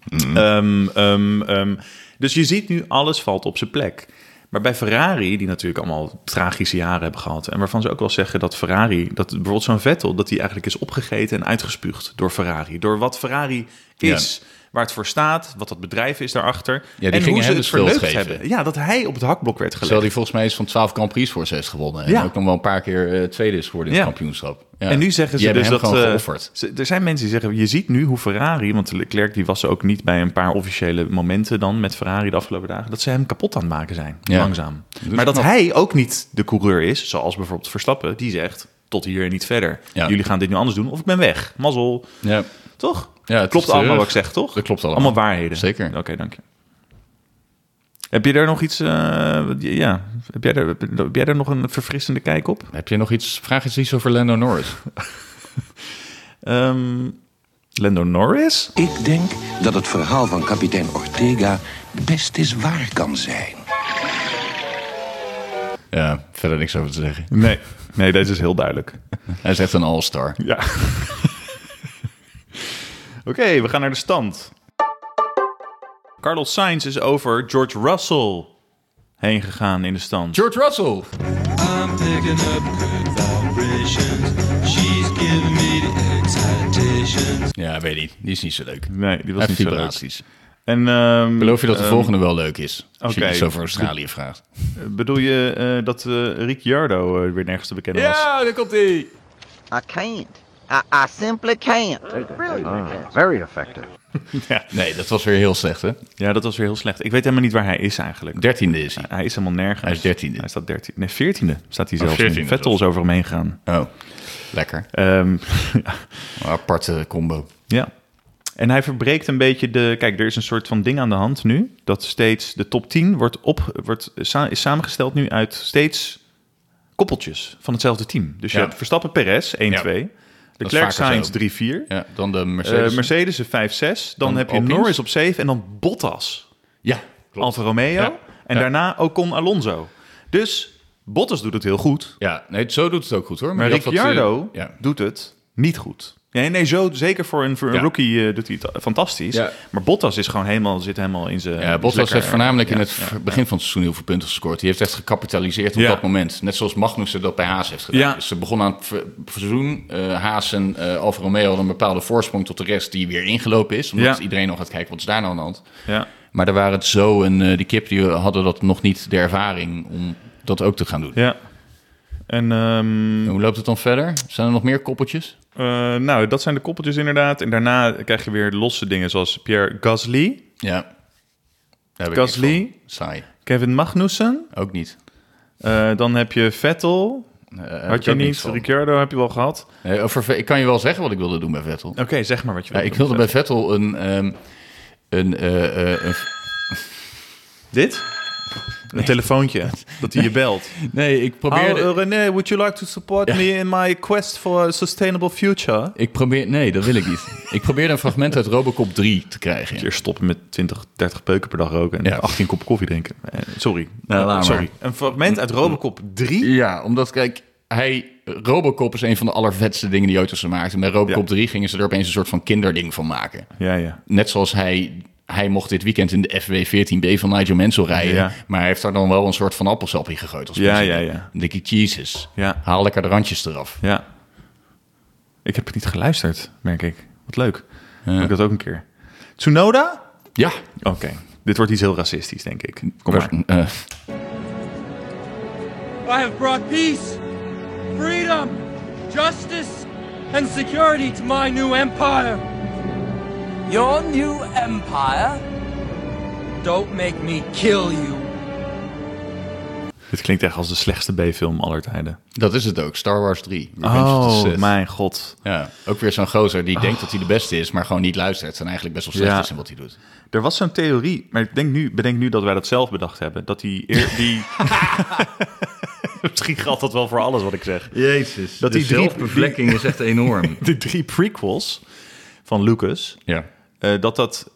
A: Mm-hmm.
B: Ehm, ehm, ehm. dus je ziet nu, alles valt op zijn plek. Maar bij Ferrari, die natuurlijk allemaal tragische jaren hebben gehad... en waarvan ze ook wel zeggen dat Ferrari, dat bijvoorbeeld zo'n Vettel... dat die eigenlijk is opgegeten en uitgespuugd door Ferrari. Door wat Ferrari is, waar het voor staat, wat dat bedrijf is daarachter...
A: die
B: en
A: gingen
B: hoe ze
A: hem
B: het
A: de schuld
B: verneukt
A: geven.
B: hebben. Ja, dat hij op het hakblok werd gelegd.
A: Terwijl hij volgens mij is van 12 Grand Prix voor ze heeft gewonnen. En
B: Ja.
A: ook nog wel een paar keer eh, tweede is geworden in
B: Ja.
A: het kampioenschap. Ja.
B: En nu zeggen
A: Die
B: ze
A: hebben
B: dus
A: hem
B: dat...
A: gewoon
B: eh,
A: geofferd.
B: ze- er zijn mensen die zeggen, je ziet nu hoe Ferrari... want Leclerc die was ook niet bij een paar officiële momenten dan... met Ferrari de afgelopen dagen... dat ze hem kapot aan het maken zijn,
A: Ja.
B: langzaam.
A: is
B: maar dat
A: knap.
B: hij ook niet de coureur is, zoals bijvoorbeeld Verstappen... die zegt, tot hier en niet verder.
A: Ja.
B: Jullie gaan dit nu anders doen of ik ben weg. Mazzel,
A: Ja,
B: toch?
A: Ja, het
B: klopt
A: is
B: allemaal
A: terug.
B: wat ik zeg, toch?
A: Dat klopt allemaal.
B: Allemaal waarheden.
A: Zeker.
B: Oké, dank je. Heb je daar nog iets... eh, wat- ja, heb jij, daar, heb jij daar nog een verfrissende kijk op?
A: Heb je nog iets? Vraag eens iets over Lando Norris.
B: Ehm, Lando Norris?
H: Ik denk dat het verhaal van kapitein Ortega best eens waar kan zijn.
A: Ja, verder niks over te zeggen.
B: Nee. Nee, deze is heel duidelijk.
A: Hij is echt een all-star.
B: Ja. Oké, we gaan naar de stand. Carlos Sainz is over George Russell heen gegaan in de stand.
A: George Russell. Ja, weet niet. Die is niet zo leuk.
B: Nee, die was
A: Hij
B: niet
A: heeft
B: zo leuk.
A: vibraties.
B: En ehm,
A: Beloof je dat de
B: ehm,
A: volgende wel leuk is? Als je
B: oké.
A: iets over Australië vraagt.
B: Bedoel je eh, dat eh Ricciardo eh, weer nergens te bekennen was?
A: daar komt hij.
I: I can't. I, I simply can't.
A: Nee, dat was weer heel slecht, hè?
B: Ja, dat was weer heel slecht. Ik weet helemaal niet waar hij is eigenlijk.
A: Dertiende is hij.
B: Hij is helemaal nergens.
A: Hij is dertiende. Oh,
B: Hij staat dertiende. Nee, veertiende staat hij zelfs. nu.
A: 14e
B: Vettel is over hem heen gegaan.
A: Oh, lekker.
B: Ehm,
A: Een aparte combo.
B: Ja. En hij verbreekt een beetje de... Kijk, er is een soort van ding aan de hand nu. Dat steeds de top 10 wordt op, wordt, sa- is samengesteld nu uit steeds koppeltjes van hetzelfde team. Dus je
A: Ja.
B: hebt Verstappen Perez 1-2.
A: Ja.
B: De
A: is
B: Leclerc
A: vaker
B: Sainz
A: zo.
B: 3-4. Eh,
A: Ja, dan de Mercedes.
B: Mercedes. een 5-6. Dan,
A: Dan
B: heb je
A: Alpines.
B: Norris op 7. En dan Bottas,
A: Ja, klopt.
B: Alfa Romeo.
A: Ja.
B: En
A: Ja.
B: daarna Ocon Alonso. Dus Bottas doet het heel goed.
A: Ja, nee, zo doet het ook goed, hoor.
B: Maar
A: die had wat, eh,
B: Ricciardo
A: ja.
B: doet het niet goed. Nee, nee, zo, zeker voor een, voor een
A: Ja.
B: rookie eh, doet hij het fantastisch.
A: Ja.
B: Maar Bottas is gewoon helemaal, zit helemaal in zijn...
A: Ja,
B: is
A: Bottas
B: lekker-
A: heeft voornamelijk in
B: ja,
A: het
B: ja.
A: v- begin van het seizoen heel veel punten gescoord. Die heeft echt gecapitaliseerd op
B: Ja.
A: dat moment. Net zoals Magnussen dat bij Haas heeft gedaan.
B: Ja.
A: Dus ze begonnen aan het ver- seizoen. Eh, Haas en eh Alfa Romeo hadden een bepaalde voorsprong tot de rest die weer ingelopen is. Omdat
B: Ja.
A: iedereen nog gaat kijken, wat is daar nou aan de hand?
B: Ja.
A: Maar daar waren het zo en eh, die kip die hadden dat nog niet de ervaring om dat ook te gaan doen.
B: ja. En ehm,
A: En Hoe loopt het dan verder? Zijn er nog meer koppeltjes?
B: eh, nou, dat zijn de koppeltjes inderdaad. En daarna krijg je weer losse dingen zoals Pierre Gasly,
A: Ja. Daar heb ik
B: Gasly?
A: niks van. Saai.
B: Kevin Magnussen.
A: Ook niet.
B: Eh, dan heb je Vettel.
A: Eh, heb
B: Had je
A: ik ook
B: niet.
A: niks van.
B: Ricciardo heb je wel gehad.
A: Eh, over Ve- ik kan je wel zeggen wat ik wilde doen bij Vettel.
B: Oké, zeg maar wat je
A: Ja,
B: wilt
A: ik
B: doen.
A: wilde bij Vettel een. ehm, een, eh, eh, een
B: Dit? Een telefoontje. Dat hij je belt.
A: Nee, ik probeerde...
B: eh, René, would you like to support me in my quest for a sustainable future?
A: ik probeer, nee, dat wil ik niet. ik probeerde een fragment uit Robocop 3 te krijgen.
B: Eerst stoppen met 20, 30 peuken per dag roken en
A: Ja.
B: 18 kop koffie drinken. Eh, sorry.
A: Nou, laat maar.
B: sorry. Een fragment uit Robocop 3.
A: Ja, omdat kijk, hij, Robocop is een van de allervetste dingen die auto's gemaakt. En bij Robocop
B: Ja.
A: 3 gingen ze er opeens een soort van kinderding van maken.
B: Ja, ja.
A: Net zoals hij, hij mocht dit weekend in de FW14B van Nigel Mansell rijden.
B: Ja.
A: Maar hij heeft daar dan wel een soort van appelsappie gegooid. Als
B: Ja,
A: president.
B: ja, ja.
A: Dan denk ik, Jesus,
B: Ja.
A: haal lekker de randjes eraf.
B: Ja. Ik heb het niet geluisterd, merk ik. Wat leuk. Doe ik dat ook een keer. Tsunoda?
A: Ja,
B: Oké. Dit wordt iets heel racistisch, denk ik. Kom maar.
A: Eh,
E: I have brought peace, freedom, justice, and security to my new empire. Your new empire? Don't make me kill you.
B: Dit klinkt echt als de slechtste B-film aller tijden.
A: dat is het ook. Star Wars 3. Revenge of the Sith.
B: Oh, mijn god.
A: Ja, ook weer zo'n gozer die denkt dat hij de beste is, maar gewoon niet luistert. En eigenlijk best wel slecht
B: Ja.
A: is in wat hij doet.
B: Er was zo'n theorie, maar ik denk nu, bedenk nu dat wij dat zelf bedacht hebben. Dat die... eer- die... Misschien geldt dat wel voor alles wat ik zeg.
A: Jezus,
B: Dat de die drie- zelfbevlekking
A: is echt enorm.
B: De drie prequels van Lucas,
A: Ja.
B: eh, dat dat...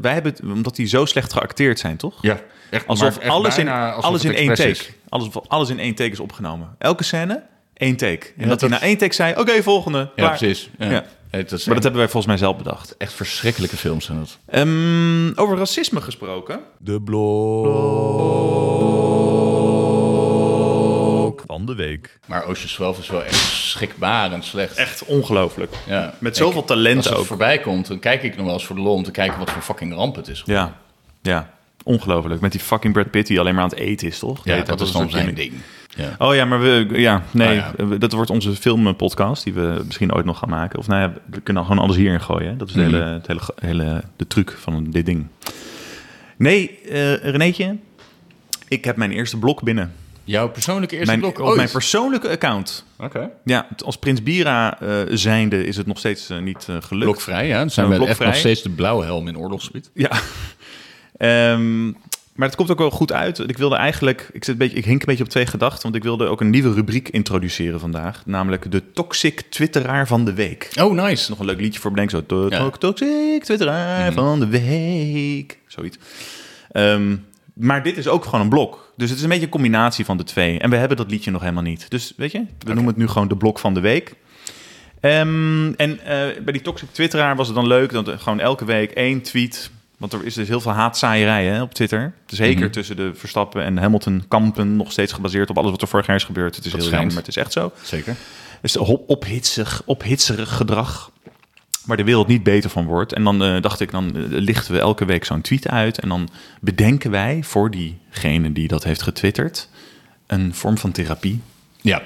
B: Wij hebben het, omdat die zo slecht geacteerd zijn, toch?
A: Ja, echt,
B: Alsof
A: maar echt
B: alles, in,
A: bijna alsof
B: alles
A: het
B: in één take.
A: expres is.
B: Alles, alles in één take is opgenomen. Elke scène, één take. En
A: Ja,
B: dat hij
A: dat-
B: na één take zei, oké, volgende.
A: Ja,
B: klaar.
A: precies. Ja.
B: Ja.
A: Het is
B: Maar
A: echt-
B: dat hebben wij volgens mij zelf bedacht.
A: echt verschrikkelijke films zijn dat.
B: Ehm, over racisme gesproken.
J: De blok van de week.
A: Maar Ocean's 12 is wel echt schrikbarend slecht.
B: Echt ongelooflijk.
A: Ja.
B: Met zoveel
A: Ik-
B: talent
A: Als het
B: ook.
A: voorbij komt, dan kijk ik nog wel eens voor de lol om te kijken wat voor fucking ramp het is.
B: Ja, ja. Ongelooflijk. Met die fucking Brad Pitt die alleen maar aan het eten is, toch?
A: Ja,
B: Nee,
A: dat is
B: een
A: dan
B: soort
A: zijn
B: gimmick.
A: ding. Ja.
B: Oh ja, maar we, ja, nee,
A: Ah, ja.
B: eh, dat wordt onze filmpodcast die we misschien ooit nog gaan maken. Of nou ja, we kunnen gewoon alles hierin gooien. hè. Dat is de
A: Mhm.
B: hele, het hele, hele de truc van dit ding. Nee, eh Renéetje, ik heb mijn eerste blok binnen.
A: Jouw persoonlijke eerste
B: Mijn,
A: blok
B: op
A: ooit.
B: mijn persoonlijke account. Ja, t- als Prins Bira eh, zijnde is het nog steeds eh, niet eh, gelukt.
A: Blokvrij, ja. Dan zijn
B: Ja,
A: we echt
B: blokvrij.
A: nog steeds de blauwe helm in oorlogsgebied.
B: Ja. Ehm, maar het komt ook wel goed uit. Ik wilde eigenlijk, ik, zit een beetje, ik hink een beetje op twee gedachten, want ik wilde ook een nieuwe rubriek introduceren vandaag. Namelijk de Toxic Twitteraar van de Week.
A: Oh, nice.
B: Nog een leuk liedje voor bedenk. Zo, to-
A: Ja. Mhm.
B: to- Toxic Twitteraar van de Week. Zoiets. Ehm, maar dit is ook gewoon een blok. Dus het is een beetje een combinatie van de twee. En we hebben dat liedje nog helemaal niet. Dus weet je, we noemen het nu gewoon de blok van de week. Ehm, en eh, bij die toxic twitteraar was het dan leuk dat er gewoon elke week één tweet... Want er is dus heel veel haatzaaierij hè, op Twitter. Zeker
A: Mhm.
B: tussen de Verstappen en Hamilton kampen. Nog steeds gebaseerd op alles wat er vorig jaar is gebeurd. Het is heel
A: schijnt.
B: jammer, maar het is echt zo.
A: Zeker.
B: Dus hop- ophitsig, ophitserig gedrag. Waar de wereld niet beter van wordt. En dan eh, dacht ik, dan eh, lichten we elke week zo'n tweet uit. En dan bedenken wij voor diegene die dat heeft getwitterd. een vorm van therapie.
A: Ja.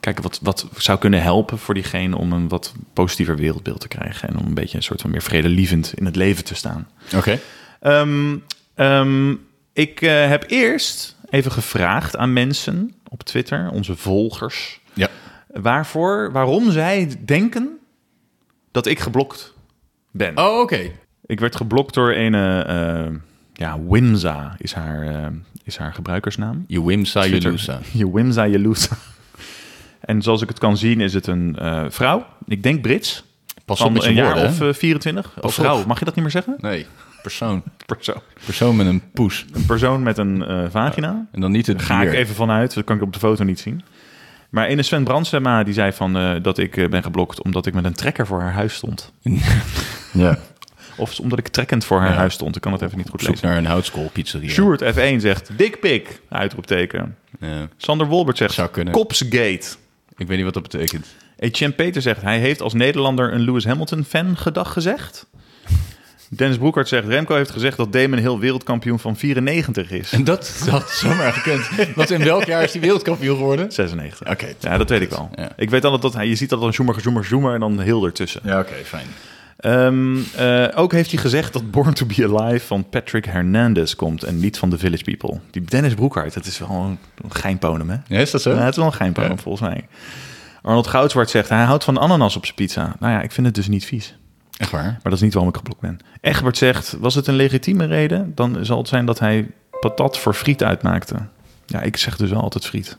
B: Kijken wat, wat zou kunnen helpen voor diegene om een wat positiever wereldbeeld te krijgen. En om een beetje een soort van meer vredelievend in het leven te staan.
A: Oké.
B: Ehm, ehm, ik eh, heb eerst even gevraagd aan mensen op Twitter, onze volgers
A: Ja.
B: waarvoor, waarom zij denken dat ik geblokt ben.
A: Oh, oké.
B: Ik werd geblokt door een, eh, eh, ja, Wimsa is haar, eh, is haar gebruikersnaam.
A: Je wimsa, je
B: Twitter.
A: loesa.
B: Je Wimsa Jelusa. En zoals ik het kan zien is het een eh, vrouw, ik denk Brits,
A: Pas op
B: van
A: met je
B: een jaar
A: woorden,
B: of
A: hè?
B: eh, 24. Of vrouw,
A: op.
B: mag je dat niet meer zeggen?
A: Nee, persoon.
B: Persoon.
A: Persoon met een poes.
B: Een persoon met een eh, vagina.
A: En dan niet het
B: Ga
A: dier.
B: ik even vanuit, dat kan ik op de foto niet zien. Maar ene Sven Brandsema die zei van, eh, dat ik eh, ben geblokt omdat ik met een trekker voor haar huis stond.
A: Ja.
B: Of omdat ik trekkend voor haar
A: Ja.
B: huis stond. Ik kan het even niet goed
A: Zoek
B: lezen.
A: naar een houtskoolpizzeria.
B: Sjoerd F1 zegt dikpik, uitroepteken.
A: Ja.
B: Sander Wolbert zegt
A: Zou kunnen.
B: kopsgate.
A: Ik weet niet wat dat betekent.
B: Etienne Peter zegt hij heeft als Nederlander een Lewis Hamilton fan gedag gezegd. Dennis Broekhart zegt Remco heeft gezegd dat Damon heel wereldkampioen van 94 is.
A: En dat had zomaar gekund. Want in welk jaar is die wereldkampioen geworden?
B: 96.
A: Oké.
B: Ja, dat weet ik wel.
A: Ja.
B: Ik weet altijd dat hij, je ziet dat dan zoemer, zoemer, zoemer en dan heel ertussen.
A: Ja, oké, fijn.
B: Ehm, eh, ook heeft hij gezegd dat Born to be Alive van Patrick Hernandez komt en niet van The Village People. Die Dennis Broekhart, dat is wel een, een geinponem, hè?
A: Ja, is dat zo?
B: Ja, het is wel een geinponem,
A: Ja.
B: volgens mij. Arnold Goudzwart zegt, hij houdt van ananas op zijn pizza. Nou ja, ik vind het dus niet vies.
A: Echt waar?
B: Maar dat is niet waarom ik geblokt ben. Egbert zegt, was het een legitieme reden? Dan zal het zijn dat hij patat voor friet uitmaakte. Ja, ik zeg dus wel altijd friet.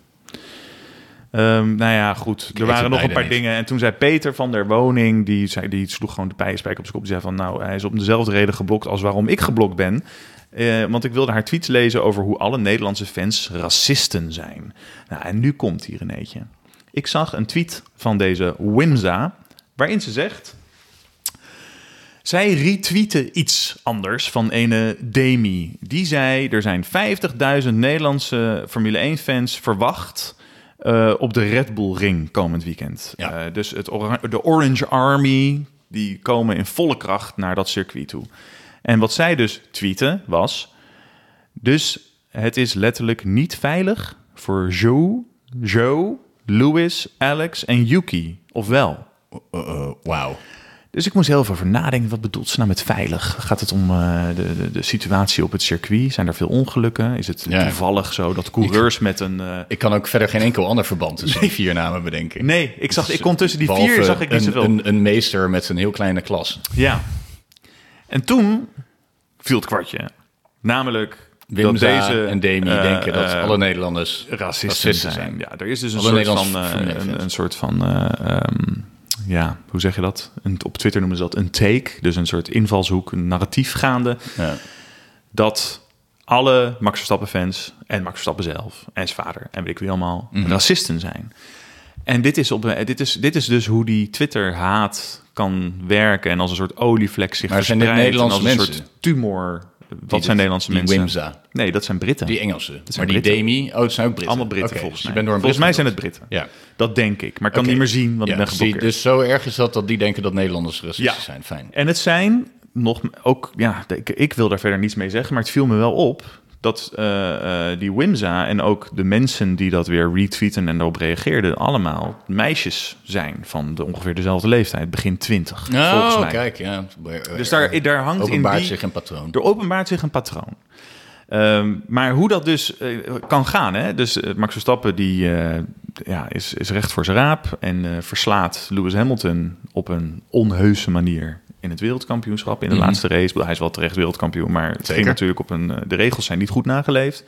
B: Ehm, nou ja, goed. Er
A: ze
B: waren nog een
A: beide
B: paar
A: niet.
B: dingen. En toen zei Peter van der Woning, die, zei, die sloeg gewoon de pijlenspijk op zijn kop. Die zei van, nou, hij is om dezelfde reden geblokt als waarom ik geblokt ben. Eh, want ik wilde haar tweets lezen over hoe alle Nederlandse fans racisten zijn. Nou, en nu komt hier een eetje. Ik zag een tweet van deze Wimza, waarin ze zegt... Zij retweeten iets anders van ene Demi. Die zei, er zijn 50.000 Nederlandse Formule 1-fans verwacht... eh, op de Red Bull Ring komend weekend.
A: Ja.
B: Eh, dus het ora- de Orange Army, die komen in volle kracht naar dat circuit toe. En wat zij dus tweeten was... Dus het is letterlijk niet veilig voor Joe, Joe, Louis, Alex en Yuki. Of wel?
A: Uh-oh, Oh, Wauw.
B: Dus ik moest heel veel over nadenken. Wat bedoelt ze nou met veilig? Gaat het om eh, de, de, de situatie op het circuit? Zijn er veel ongelukken? Is het
A: Ja.
B: toevallig zo dat coureurs met een... eh,
A: Ik kan ook verder geen enkel ander verband tussen die vier namen bedenken.
B: Nee, ik, zag,
A: Dus,
B: ik kon tussen die
A: behalve
B: vier zag ik niet
A: een,
B: zoveel.
A: Een, een meester met een heel kleine klas.
B: Ja. En toen viel het kwartje. Namelijk
A: Wimza
B: dat deze
A: en Demi
B: eh,
A: denken dat
B: eh,
A: alle Nederlanders
B: racisten, zijn. Ja, er is dus een
A: Alle
B: soort
A: Nederlandse
B: van, eh,
A: Formule
B: een,
A: fans.
B: een soort van eh, ehm, ja, hoe zeg je dat? Een, op Twitter noemen ze dat een take, dus een soort invalshoek, een narratief gaande.
A: Ja.
B: Dat alle Max Verstappen fans en Max Verstappen zelf en zijn vader en weet ik wie allemaal
A: Mhm.
B: racisten zijn. En dit is, op, eh, dit, is, dit is dus hoe die Twitter-haat kan werken en als een soort olievlek zich
A: Maar zijn dit
B: verspreidt.
A: Nederlandse
B: en als een
A: mensen?
B: soort tumor. Wat
A: dit-
B: zijn Nederlandse
A: die
B: mensen?
A: Wimsa.
B: Nee, dat zijn Britten.
A: Die Engelsen. Maar die
B: Britten.
A: Demi, oh, het zijn ook Britten.
B: Allemaal Britten
A: Oké,
B: volgens
A: dus
B: mij.
A: je bent door een
B: volgens mij zijn het
A: Brit
B: Britten.
A: gedood. Ja.
B: Dat denk ik. Maar ik kan
A: Oké.
B: niet meer zien, want
A: Ja,
B: ik ben
A: zie,
B: geblokkeerd.
A: Dus zo erg is dat dat die denken dat Nederlanders racistisch
B: ja.
A: zijn. Fijn.
B: En het zijn nog ook, ja, ik, ik wil daar verder niets mee zeggen, maar het viel me wel op dat eh, eh, die Wimza en ook de mensen die dat weer retweeten en daarop reageerden, allemaal meisjes zijn van de, ongeveer dezelfde leeftijd, begin twintig. volgens
A: Oh,
B: mij.
A: kijk, ja.
B: Dus daar, daar hangt in
A: eh, Openbaart
B: die,
A: zich een patroon.
B: Er openbaart zich een patroon. Ehm, maar hoe dat dus eh, kan gaan. Hè? Dus eh, Max Verstappen die, eh, ja, is, is recht voor zijn raap. En eh, verslaat Lewis Hamilton op een onheuse manier in het wereldkampioenschap. In de laatste race. Ik bedoel, Hij is wel terecht wereldkampioen. Maar het ging
A: Mhm. Zeker.
B: natuurlijk op een. eh, De regels zijn niet goed nageleefd.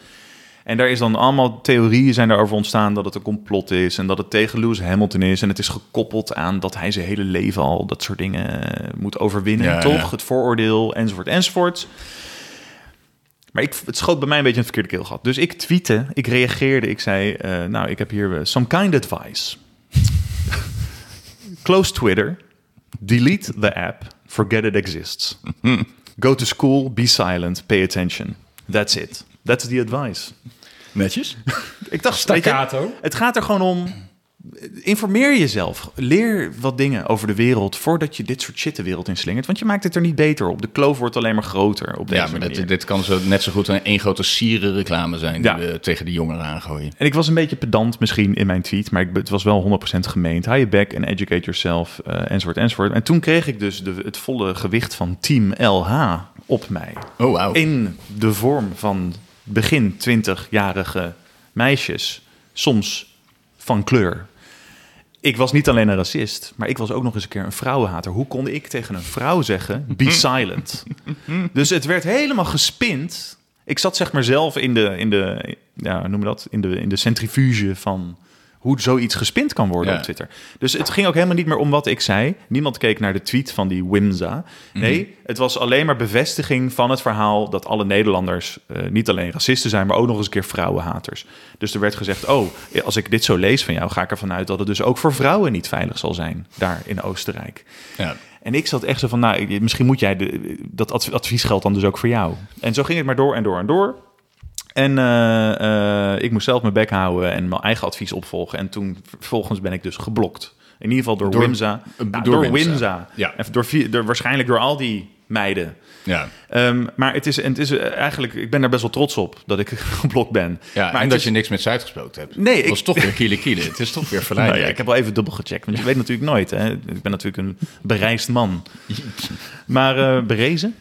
B: En daar is dan allemaal theorieën zijn daarover ontstaan dat het een complot is en dat het tegen Lewis Hamilton is. En het is gekoppeld aan dat hij zijn hele leven al dat soort dingen eh, moet overwinnen,
A: Ja,
B: toch?
A: ja.
B: Het vooroordeel, enzovoort, enzovoort. Maar ik, het schoot bij mij een beetje een verkeerde keel gehad. Dus ik tweette, ik reageerde, ik zei, eh, nou, ik heb hier eh, some kind advice. Close Twitter, delete the app, forget it exists. Go to school, be silent, pay attention. That's it. That's the advice.
A: Netjes.
B: Ik dacht, weet je,
J: Staccato.
B: het gaat er gewoon om. Informeer jezelf. Leer wat dingen over de wereld voordat je dit soort shit de wereld inslingert. Want je maakt het er niet beter op. De kloof wordt alleen maar groter op deze
A: Ja, maar
B: manier.
A: dit, dit kan zo net zo goed een één grote sieren reclame zijn
B: Ja.
A: die we tegen die jongeren aangooien.
B: En ik was een beetje pedant misschien in mijn tweet, maar ik, het was wel 100% gemeend. Hou je back en educate yourself, eh, enzovoort, enzovoort. En toen kreeg ik dus de, het volle gewicht van Team LH op mij.
A: Oh, wauw.
B: In de vorm van begin 20-jarige meisjes, soms van kleur. Ik was niet alleen een racist, maar ik was ook nog eens een keer een vrouwenhater. Hoe kon ik tegen een vrouw zeggen, be silent? Dus het werd helemaal gespind. Ik zat zeg maar zelf in de, in de ja, hoe noem je dat? In de, in de centrifuge van hoe zoiets gespind kan worden
A: Ja.
B: op Twitter. Dus het ging ook helemaal niet meer om wat ik zei. Niemand keek naar de tweet van die Wimza. Nee, het was alleen maar bevestiging van het verhaal dat alle Nederlanders eh, niet alleen racisten zijn, maar ook nog eens een keer vrouwenhaters. Dus er werd gezegd: Oh, als ik dit zo lees van jou, ga ik ervan uit dat het dus ook voor vrouwen niet veilig zal zijn daar in Oostenrijk.
A: Ja.
B: En ik zat echt zo van, nou, ik- misschien moet jij, de, dat adv- advies geldt dan dus ook voor jou. En zo ging het maar door en door en door. En eh, eh, ik moest zelf mijn bek houden en mijn eigen advies opvolgen. En toen vervolgens ben ik dus geblokt. In ieder geval door,
A: Door-
B: Wimza.
A: eh,
B: Nou,
A: door
B: door
A: Wimsa.
B: Wimza.
A: Ja.
B: En door, vi- door, waarschijnlijk door al die meiden.
A: Ja.
B: Ehm, maar het is, en het is eh, eigenlijk, ik ben daar best wel trots op dat ik geblokt ben.
A: Ja,
B: maar
A: en
B: het
A: dat
B: is-
A: je niks met Zuid gesproken hebt.
B: Nee,
A: Het
B: ik-
A: was toch weer kiele kiele. Het is toch weer verleidelijk.
B: Nou ja, ik heb wel even dubbel gecheckt, want je weet natuurlijk nooit. Hè? Ik ben natuurlijk een bereisd man. Maar eh, berezen?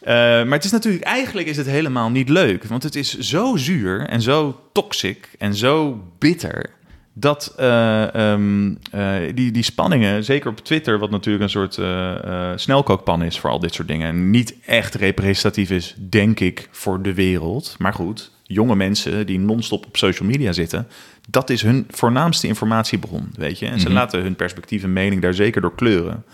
B: Eh, maar het is natuurlijk, eigenlijk is het helemaal niet leuk. Want het is zo zuur en zo toxic en zo bitter. dat eh, ehm, eh, die, die spanningen, zeker op Twitter, wat natuurlijk een soort eh, eh, snelkookpan is voor al dit soort dingen, en niet echt representatief is, denk ik, voor de wereld. Maar goed, jonge mensen die non-stop op social media zitten, dat is hun voornaamste informatiebron, weet je. En
A: Mhm.
B: ze laten hun perspectief en mening daar zeker door kleuren.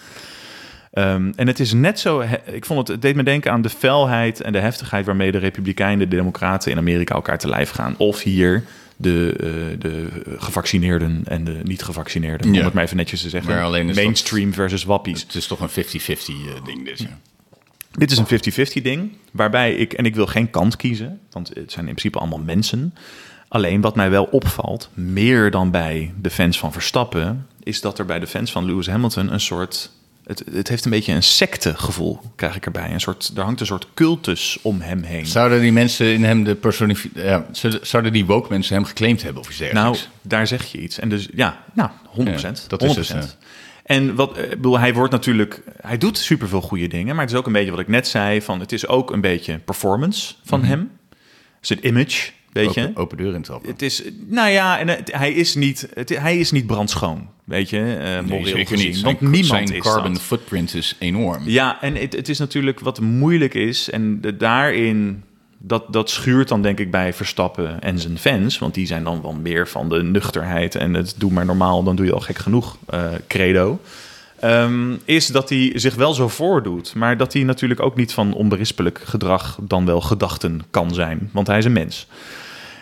B: Ehm, en het is net zo. he- Ik vond het, het deed me denken aan de felheid en de heftigheid waarmee de Republikeinen, de Democraten in Amerika elkaar te lijf gaan. Of hier de, eh, de gevaccineerden en de niet-gevaccineerden.
A: Ja.
B: Om het maar even netjes te zeggen.
A: Maar alleen is dat-
B: Mainstream versus wappies.
A: Het is toch een 50-50 eh, ding dit. Ja.
B: Dit is een 50-50 ding, waarbij ik, en ik wil geen kant kiezen, want het zijn in principe allemaal mensen. Alleen wat mij wel opvalt, meer dan bij de fans van Verstappen, is dat er bij de fans van Lewis Hamilton een soort. Het, het heeft een beetje een sectegevoel, krijg ik erbij. Een soort, er hangt een soort cultus om hem heen.
A: Zouden die mensen in hem de personifi- ja, zouden- zouden die woke mensen hem geclaimd hebben of iets
B: Nou,
A: dergelijks?
B: daar zeg je iets. En dus ja, nou, 100
A: Ja,
B: dat
A: dat
B: 100%.
A: is dus, eh.
B: en wat, eh, ik bedoel, hij wordt natuurlijk, hij doet superveel goede dingen, maar het is ook een beetje wat ik net zei, van het is ook een beetje performance van
A: Mhm.
B: hem. Zijn image, weet je.
A: open, open deur in het open.
B: Het is, nou ja, en het- hij is niet, het, hij is niet brandschoon, weet je, eh moreel
A: zeker
B: gezien.
A: niet.
B: Want
A: Zijn-
B: niemand
A: zijn
B: is
A: carbon
B: dat.
A: footprint is enorm.
B: Ja, en het, het is natuurlijk wat moeilijk is. En de- daarin, dat, dat schuurt dan denk ik bij Verstappen en zijn fans. Want die zijn dan wel meer van de nuchterheid en het doe maar normaal, dan doe je al gek genoeg eh, credo. Ehm, is dat hij zich wel zo voordoet, maar dat hij natuurlijk ook niet van onberispelijk gedrag dan wel gedachten kan zijn. Want hij is een mens.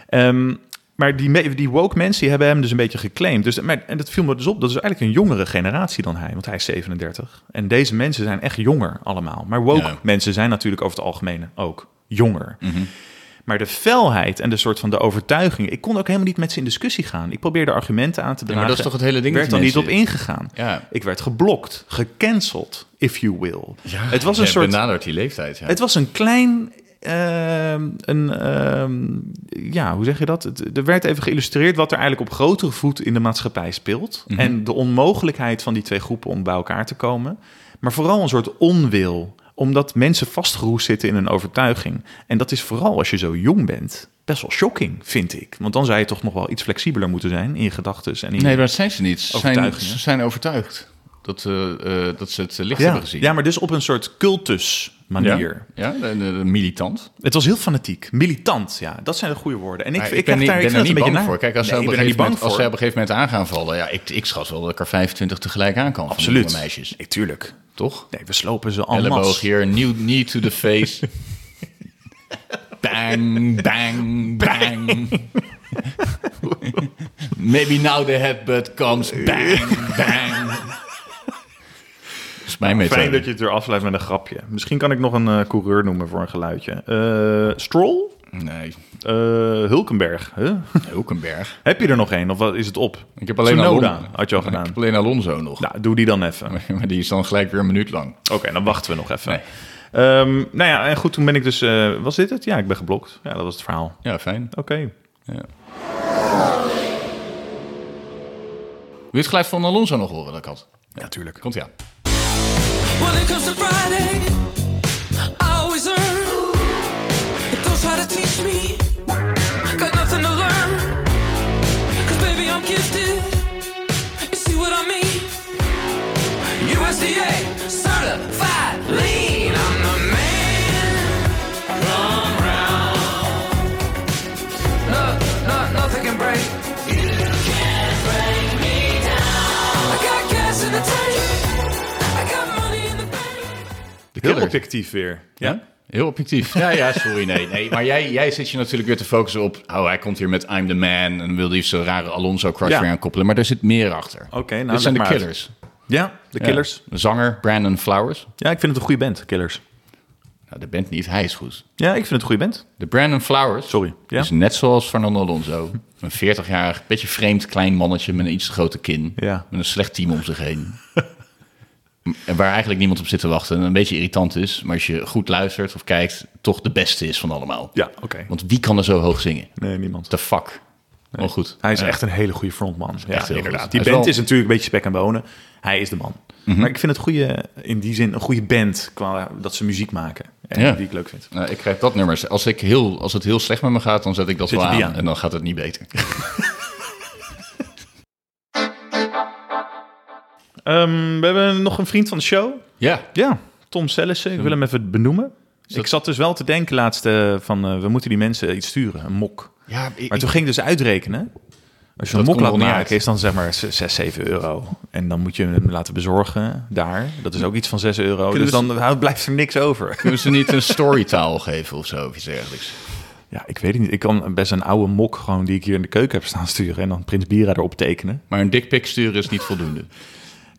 B: Ehm, maar die, me- die woke mensen die hebben hem dus een beetje geclaimd. Dus, maar, en dat viel me dus op. Dat is eigenlijk een jongere generatie dan hij. Want hij is 37. En deze mensen zijn echt jonger allemaal. Maar woke
A: Ja. Mhm.
B: mensen zijn natuurlijk over het algemeen ook jonger. Maar de felheid en de soort van de overtuiging. Ik kon ook helemaal niet met ze in discussie gaan. Ik probeerde argumenten aan te dragen.
A: maar dat is toch het hele ding
B: werd
A: met
B: er niet
A: die
B: op
A: mensen?
B: ingegaan.
A: Ja.
B: Ik werd geblokt, gecanceld, if you will. het was een
A: Jij
B: soort
A: benadert die leeftijd. Ja.
B: het was een klein. ehm, een, ehm, ja, hoe zeg je dat? Het, er werd even geïllustreerd wat er eigenlijk op grotere voet in de maatschappij speelt.
A: Mhm.
B: En de onmogelijkheid van die twee groepen om bij elkaar te komen. Maar vooral een soort onwil, omdat mensen vastgeroest zitten in een overtuiging. En dat is vooral als je zo jong bent. Best wel shocking, vind ik. Want dan zou je toch nog wel iets flexibeler moeten zijn in je gedachten. en in je-
A: nee, maar dat zijn ze niet. Ze zijn,
B: Overtuigingen.
A: ze zijn overtuigd dat, eh, eh, dat ze het eh, licht
B: ja,
A: hebben gezien.
B: ja, maar dus op een soort cultus manier.
A: Ja, de, de- de militant.
B: Het was heel fanatiek, militant. Ja, dat zijn de goede woorden. En ik,
A: Maar
B: ik, krijg
A: ben, niet-
B: daar, ik
A: ben er
B: vind
A: niet
B: dat een
A: bang
B: beetje
A: voor.
B: naar.
A: Kijk, als,
B: Nee,
A: zij
B: ik
A: op een
B: ben er niet
A: gegeven
B: bang
A: moment,
B: voor.
A: als zij op een gegeven moment aan gaan vallen... Ja, ik, ik schat wel dat ik er 25 tegelijk aan kan. van die
B: Absoluut.
A: jonge meisjes.
B: Natuurlijk.
A: Toch?
B: Nee, we slopen ze allemaal.
A: Elleboog hier, new knee to the face. bang, bang, bang. Maybe now the headbutt comes. Bang, bang. Dat is mijn methode.
B: Fijn dat je het weer afsluit met een grapje. Misschien kan ik nog een eh, coureur noemen voor een geluidje. Eh, Stroll?
A: Nee,
B: Eh, Hulkenberg? Huh?
A: Hulkenberg.
B: heb je er nog een of wat is het op?
A: Ik heb alleen
B: Tsunoda
A: Alonso.
B: had je al
A: Ik
B: gedaan.
A: heb alleen Alonso nog.
B: Nou, doe die dan even.
A: Maar die is dan gelijk weer een minuut lang.
B: Oké, dan wachten we nog even.
A: Nee.
B: Ehm, nou ja, en goed, toen ben ik dus... eh, was dit het? Ja, ik ben geblokt. Ja, dat was het verhaal.
A: Ja, fijn.
B: Oké.
A: Wil je het geluid van Alonso nog horen dat ik had?
B: Ja, tuurlijk.
A: Komt ja.
E: When it comes to Friday, I always earn. But don't try to teach me. Got nothing to learn. Cause baby, I'm gifted. You see what I mean? USDA certified lean. I'm the man. Come round. No, no, nothing can break. I got gas in the tank. I got money in the bank.
A: De
B: Heel
A: killer.
B: objectief weer. Ja?
A: Ja? Heel objectief. Ja, ja, sorry, nee. nee. Maar jij, jij zit je natuurlijk weer te focussen op... oh, hij komt hier met I'm the man... en wil liefst zo'n rare Alonso-crush
B: Ja.
A: weer aankoppelen. Maar daar zit meer achter.
B: Oké, nou,
A: Dit zijn de
B: leg maar uit.
A: Killers.
B: Ja, de Killers.
A: Ja. Zanger Brandon Flowers.
B: Ja, ik vind het een goede band, Killers.
A: Nou, de band niet, hij is goed.
B: Ja, ik vind het een goede band.
A: De Brandon Flowers
B: Sorry, ja.
A: is net zoals Fernando Alonso. Een 40-jarig, beetje vreemd klein mannetje met een iets te grote kin.
B: Ja.
A: Met een slecht team om zich heen. en waar eigenlijk niemand op zit te wachten. En een beetje irritant is, maar als je goed luistert of kijkt, toch de beste is van allemaal.
B: Ja, oké.
A: Want wie kan er zo hoog zingen?
B: Nee, niemand.
A: The fuck. Oh, goed.
B: Hij is
A: Ja.
B: echt een hele goede frontman. Ja,
A: echt heel
B: inderdaad.
A: goed.
B: Die
A: Hij is
B: band
A: wel- Mhm.
B: is natuurlijk een beetje spek en bonen. Hij is de man. Maar ik vind het goede, in die zin een goede band qua dat ze muziek maken. En
A: Ja.
B: Die ik leuk vind.
A: Nou, ik krijg dat nummer. Als, ik heel, als het heel slecht met me gaat, dan zet ik dat
B: Zet
A: wel
B: je
A: aan,
B: die aan.
A: En dan gaat het niet beter.
B: Ehm, we hebben nog een vriend van de show.
A: Ja, Hm.
B: Ja, Tom Sellissen. Ik wil hem even benoemen. Ik zat dus wel te denken laatst eh, van eh, we moeten die mensen iets sturen, een mok.
A: ja ik,
B: Maar toen ging ik dus uitrekenen. Als je
A: Dat
B: een mok
A: komt
B: laat
A: wel niet
B: maken,
A: uit.
B: is dan zeg maar 6, 7 euro. En dan moet je hem laten bezorgen daar. Dat is ook iets van 6 euro.
A: Kunnen
B: dus
A: we
B: dan hou- blijft er niks over.
A: kunnen ze niet een storytaal geven of zo, of iets dergelijks?
B: Ja, ik weet het niet. Ik kan best een oude mok gewoon die ik hier in de keuken heb staan sturen. En dan Prins Bira erop tekenen.
A: Maar een dikpik sturen is niet voldoende.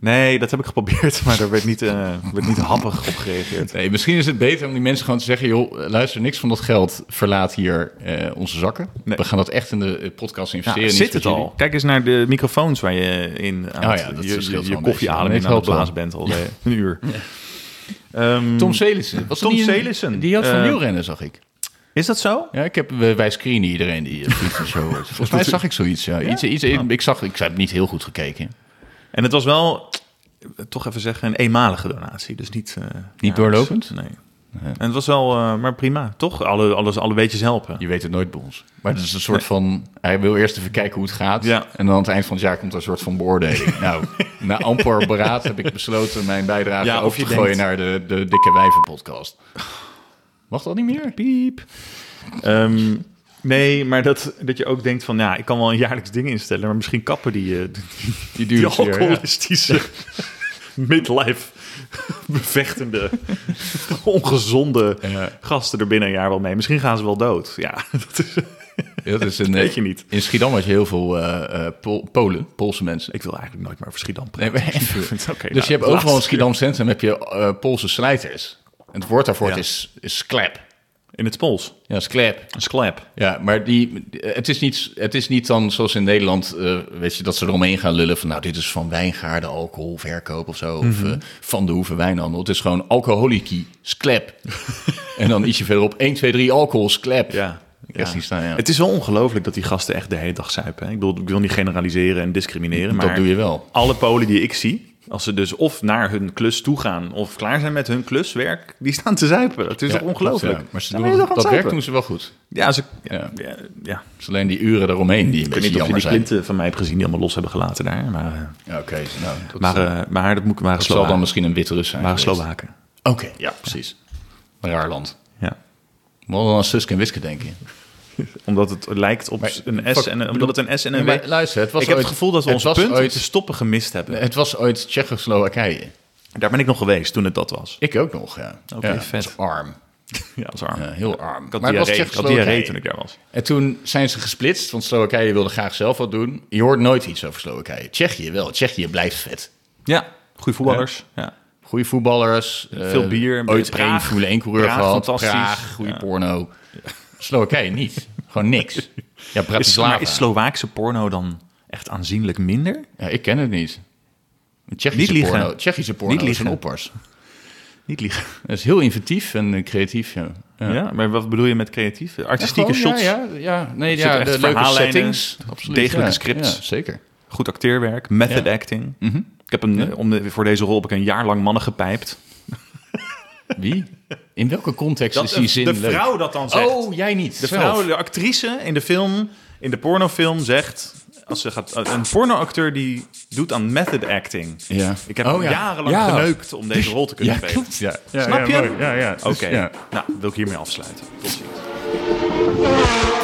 B: Nee, dat heb ik geprobeerd. Maar daar werd niet, eh, werd niet happig op gereageerd.
A: Nee, misschien is het beter om die mensen gewoon te zeggen... joh, luister, niks van dat geld verlaat hier eh, onze zakken.
B: Nee.
A: We gaan dat echt in de eh, podcast
B: Ja,
A: investeren. niet
B: zit
A: voor
B: het al?
A: jullie.
B: Kijk eens naar de microfoons waar je in aan
A: Oh
B: het-
A: ja, dat
B: je,
A: verschilt
B: je,
A: wel
B: je
A: een
B: koffie
A: beetje.
B: ademen
A: Nee,
B: en
A: het
B: aan het
A: helpt
B: blazen bent al eh, een uur. Ehm,
A: Tom Celissen. Was
B: Tom
A: dat niet een-
B: Celissen.
A: Die had van
B: Eh,
A: wielrennen, zag ik.
B: is dat zo?
A: Ja, ik heb, we- wij screenen iedereen die eh, vriend van de show wordt. Volgens mij zag ik zoiets. Ja. Iets, iets, ik, zag, ik heb niet heel goed gekeken.
B: En het was wel, eh, toch even zeggen, een eenmalige donatie. Dus niet... eh, jaarlijks.
A: doorlopend?
B: Nee. En het was wel, eh, maar prima. Toch, alle, alles, alle weetjes helpen.
A: Je weet het nooit bij ons. Maar het is een soort van... Hij wil eerst even kijken hoe het gaat.
B: Ja.
A: En dan aan het eind van het jaar komt er een soort van beoordeling. nou, na amper beraad heb ik besloten mijn bijdrage
B: Ja, of
A: over te
B: je
A: gooien
B: denkt-
A: naar de, de Dikke Wijven podcast. Mag dat niet meer? Piep.
B: Ehm, nee, maar dat, dat je ook denkt van, ja, ik kan wel een jaarlijks ding instellen. Maar misschien kappen die, eh,
A: Die
B: die
A: duurt weer. ja.
B: alcoholistische, midlife bevechtende, ongezonde
A: Ja.
B: gasten er binnen een jaar wel mee. Misschien gaan ze wel dood. Ja, dat is,
A: Ja, Dat is een,
B: Weet je niet.
A: In Schiedam had je heel veel eh, eh, Pol- Polen, Poolse mensen.
B: ik wil eigenlijk nooit meer over Schiedam
A: Nee,
B: praten.
A: maar even.
B: Oké, nou,
A: dus je hebt
B: laatste
A: overal in
B: keer.
A: Schiedam Centrum heb je eh, Poolse slijters. En het woord daarvoor
B: Ja.
A: is, is sklep.
B: In het Pools.
A: Ja, sklep.
B: Een sklep.
A: Ja, maar die, het, is niet, het is niet dan zoals in Nederland, eh, weet je, dat ze eromheen gaan lullen van, nou, dit is van wijngaarden alcoholverkoop of zo, of
B: Mhm.
A: eh, van de hoeve wijnhandel. Het is gewoon alcoholiki, sklep. en dan ietsje verderop, 1, 2, 3, alcohol, sklep.
B: Ja.
A: Ik heb die staan, ja.
B: Het is wel ongelooflijk dat die gasten echt de hele dag zuipen. hè. Ik bedoel, ik wil niet generaliseren en discrimineren, maar
A: dat doe je wel.
B: alle Polen die ik zie, als ze dus of naar hun klus toe gaan of klaar zijn met hun kluswerk, die staan te zuipen. Dat is
A: Ja,
B: toch ongelooflijk?
A: ja. Maar ze
B: Dan
A: doen,
B: ben je toch aan
A: dat
B: het
A: werk
B: zuipen?
A: doen ze wel goed.
B: Ja, ze,
A: Ja.
B: ja. Ja, ja.
A: Het is alleen die uren daaromheen die een
B: Ik weet
A: beetje
B: niet of je
A: jammer
B: die
A: zijn.
B: klinten van mij hebt gezien die allemaal los hebben gelaten daar. Maar, eh,
A: Ja, Oké, nou, dat,
B: maar, eh, maar dat moet,
A: dat
B: waren
A: zal dan
B: Slowaken.
A: misschien een wit Rus zijn.
B: Waren
A: geweest.
B: Slowaken.
A: Oké, ja, precies. Een raar land.
B: Ja.
A: We hadden aan Suske en Wiske denken.
B: Omdat het lijkt op
A: Maar-
B: een S
A: fuck,
B: en een- omdat het een S en
A: Ja,
B: een W.
A: maar luister, het was
B: ik heb
A: ooit-
B: het gevoel dat we
A: het
B: ons
A: was
B: punt
A: ooit-
B: te stoppen gemist hebben.
A: Het was ooit Tsjechoslowakije.
B: Daar ben ik nog geweest toen het dat was.
A: Ik ook nog, ja.
B: Oké,
A: ja,
B: vet.
A: was arm.
B: Ja, dat is arm.
A: Ja, heel arm.
B: Ik had,
A: Maar het was
B: diarree, ik had diarree
A: Tsjechoslowakije.
B: toen ik daar was.
A: En toen zijn ze gesplitst, want Slowakije wilde graag zelf wat doen. Je hoort nooit iets over Slowakije. Tsjechië wel. Tsjechië blijft vet.
B: Ja, goede voetballers. Ja.
A: Goeie voetballers.
B: Veel
A: eh,
B: bier, een
A: Ooit
B: beetje
A: één
B: Praag.
A: Formule 1 coureur
B: Praag,
A: gehad.
B: fantastisch.
A: Praag, goede
B: Ja.
A: porno. Slowakije niet. Gewoon niks. Ja,
B: Is,
A: Bratislava.
B: maar is Slovaakse porno dan echt aanzienlijk minder?
A: Ja, ik ken het niet. Een Tsjechische
B: Niet liegen.
A: porno, Tsjechische porno
B: Niet
A: is
B: liegen.
A: een oppers.
B: Niet liegen.
A: Dat is heel inventief en eh, creatief, ja.
B: Ja. maar wat bedoel je met creatief? Artistieke
A: Gewoon,
B: shots,
A: Ja, ja, ja. Nee,
B: zitten
A: ja,
B: echt
A: de leuke
B: verhaallijnen,
A: settings. Absoluut,
B: degelijke
A: ja.
B: scripts.
A: Ja, zeker.
B: goed acteerwerk, method
A: Ja. Mhm.
B: acting. Ik heb een, eh, om de- voor deze rol heb ik een jaar lang mannen gepijpt.
A: Wie? In welke context is die zin
B: de
A: leuk?
B: vrouw dat dan zegt.
A: Oh, jij niet.
B: de
A: zelf.
B: vrouw, de actrice in de film, in de pornofilm zegt... Als ze gaat, een pornoacteur die doet aan method acting.
A: Ja.
B: Ik heb
A: Oh, ja.
B: jarenlang
A: Ja.
B: geneukt om deze rol te kunnen
A: Ja,
B: spelen.
A: klopt. Ja.
B: Snap je?
G: mooi. Ja, ja.
B: Oké,
A: ja.
B: nou wil ik hiermee afsluiten. Tot ziens.
C: Bye.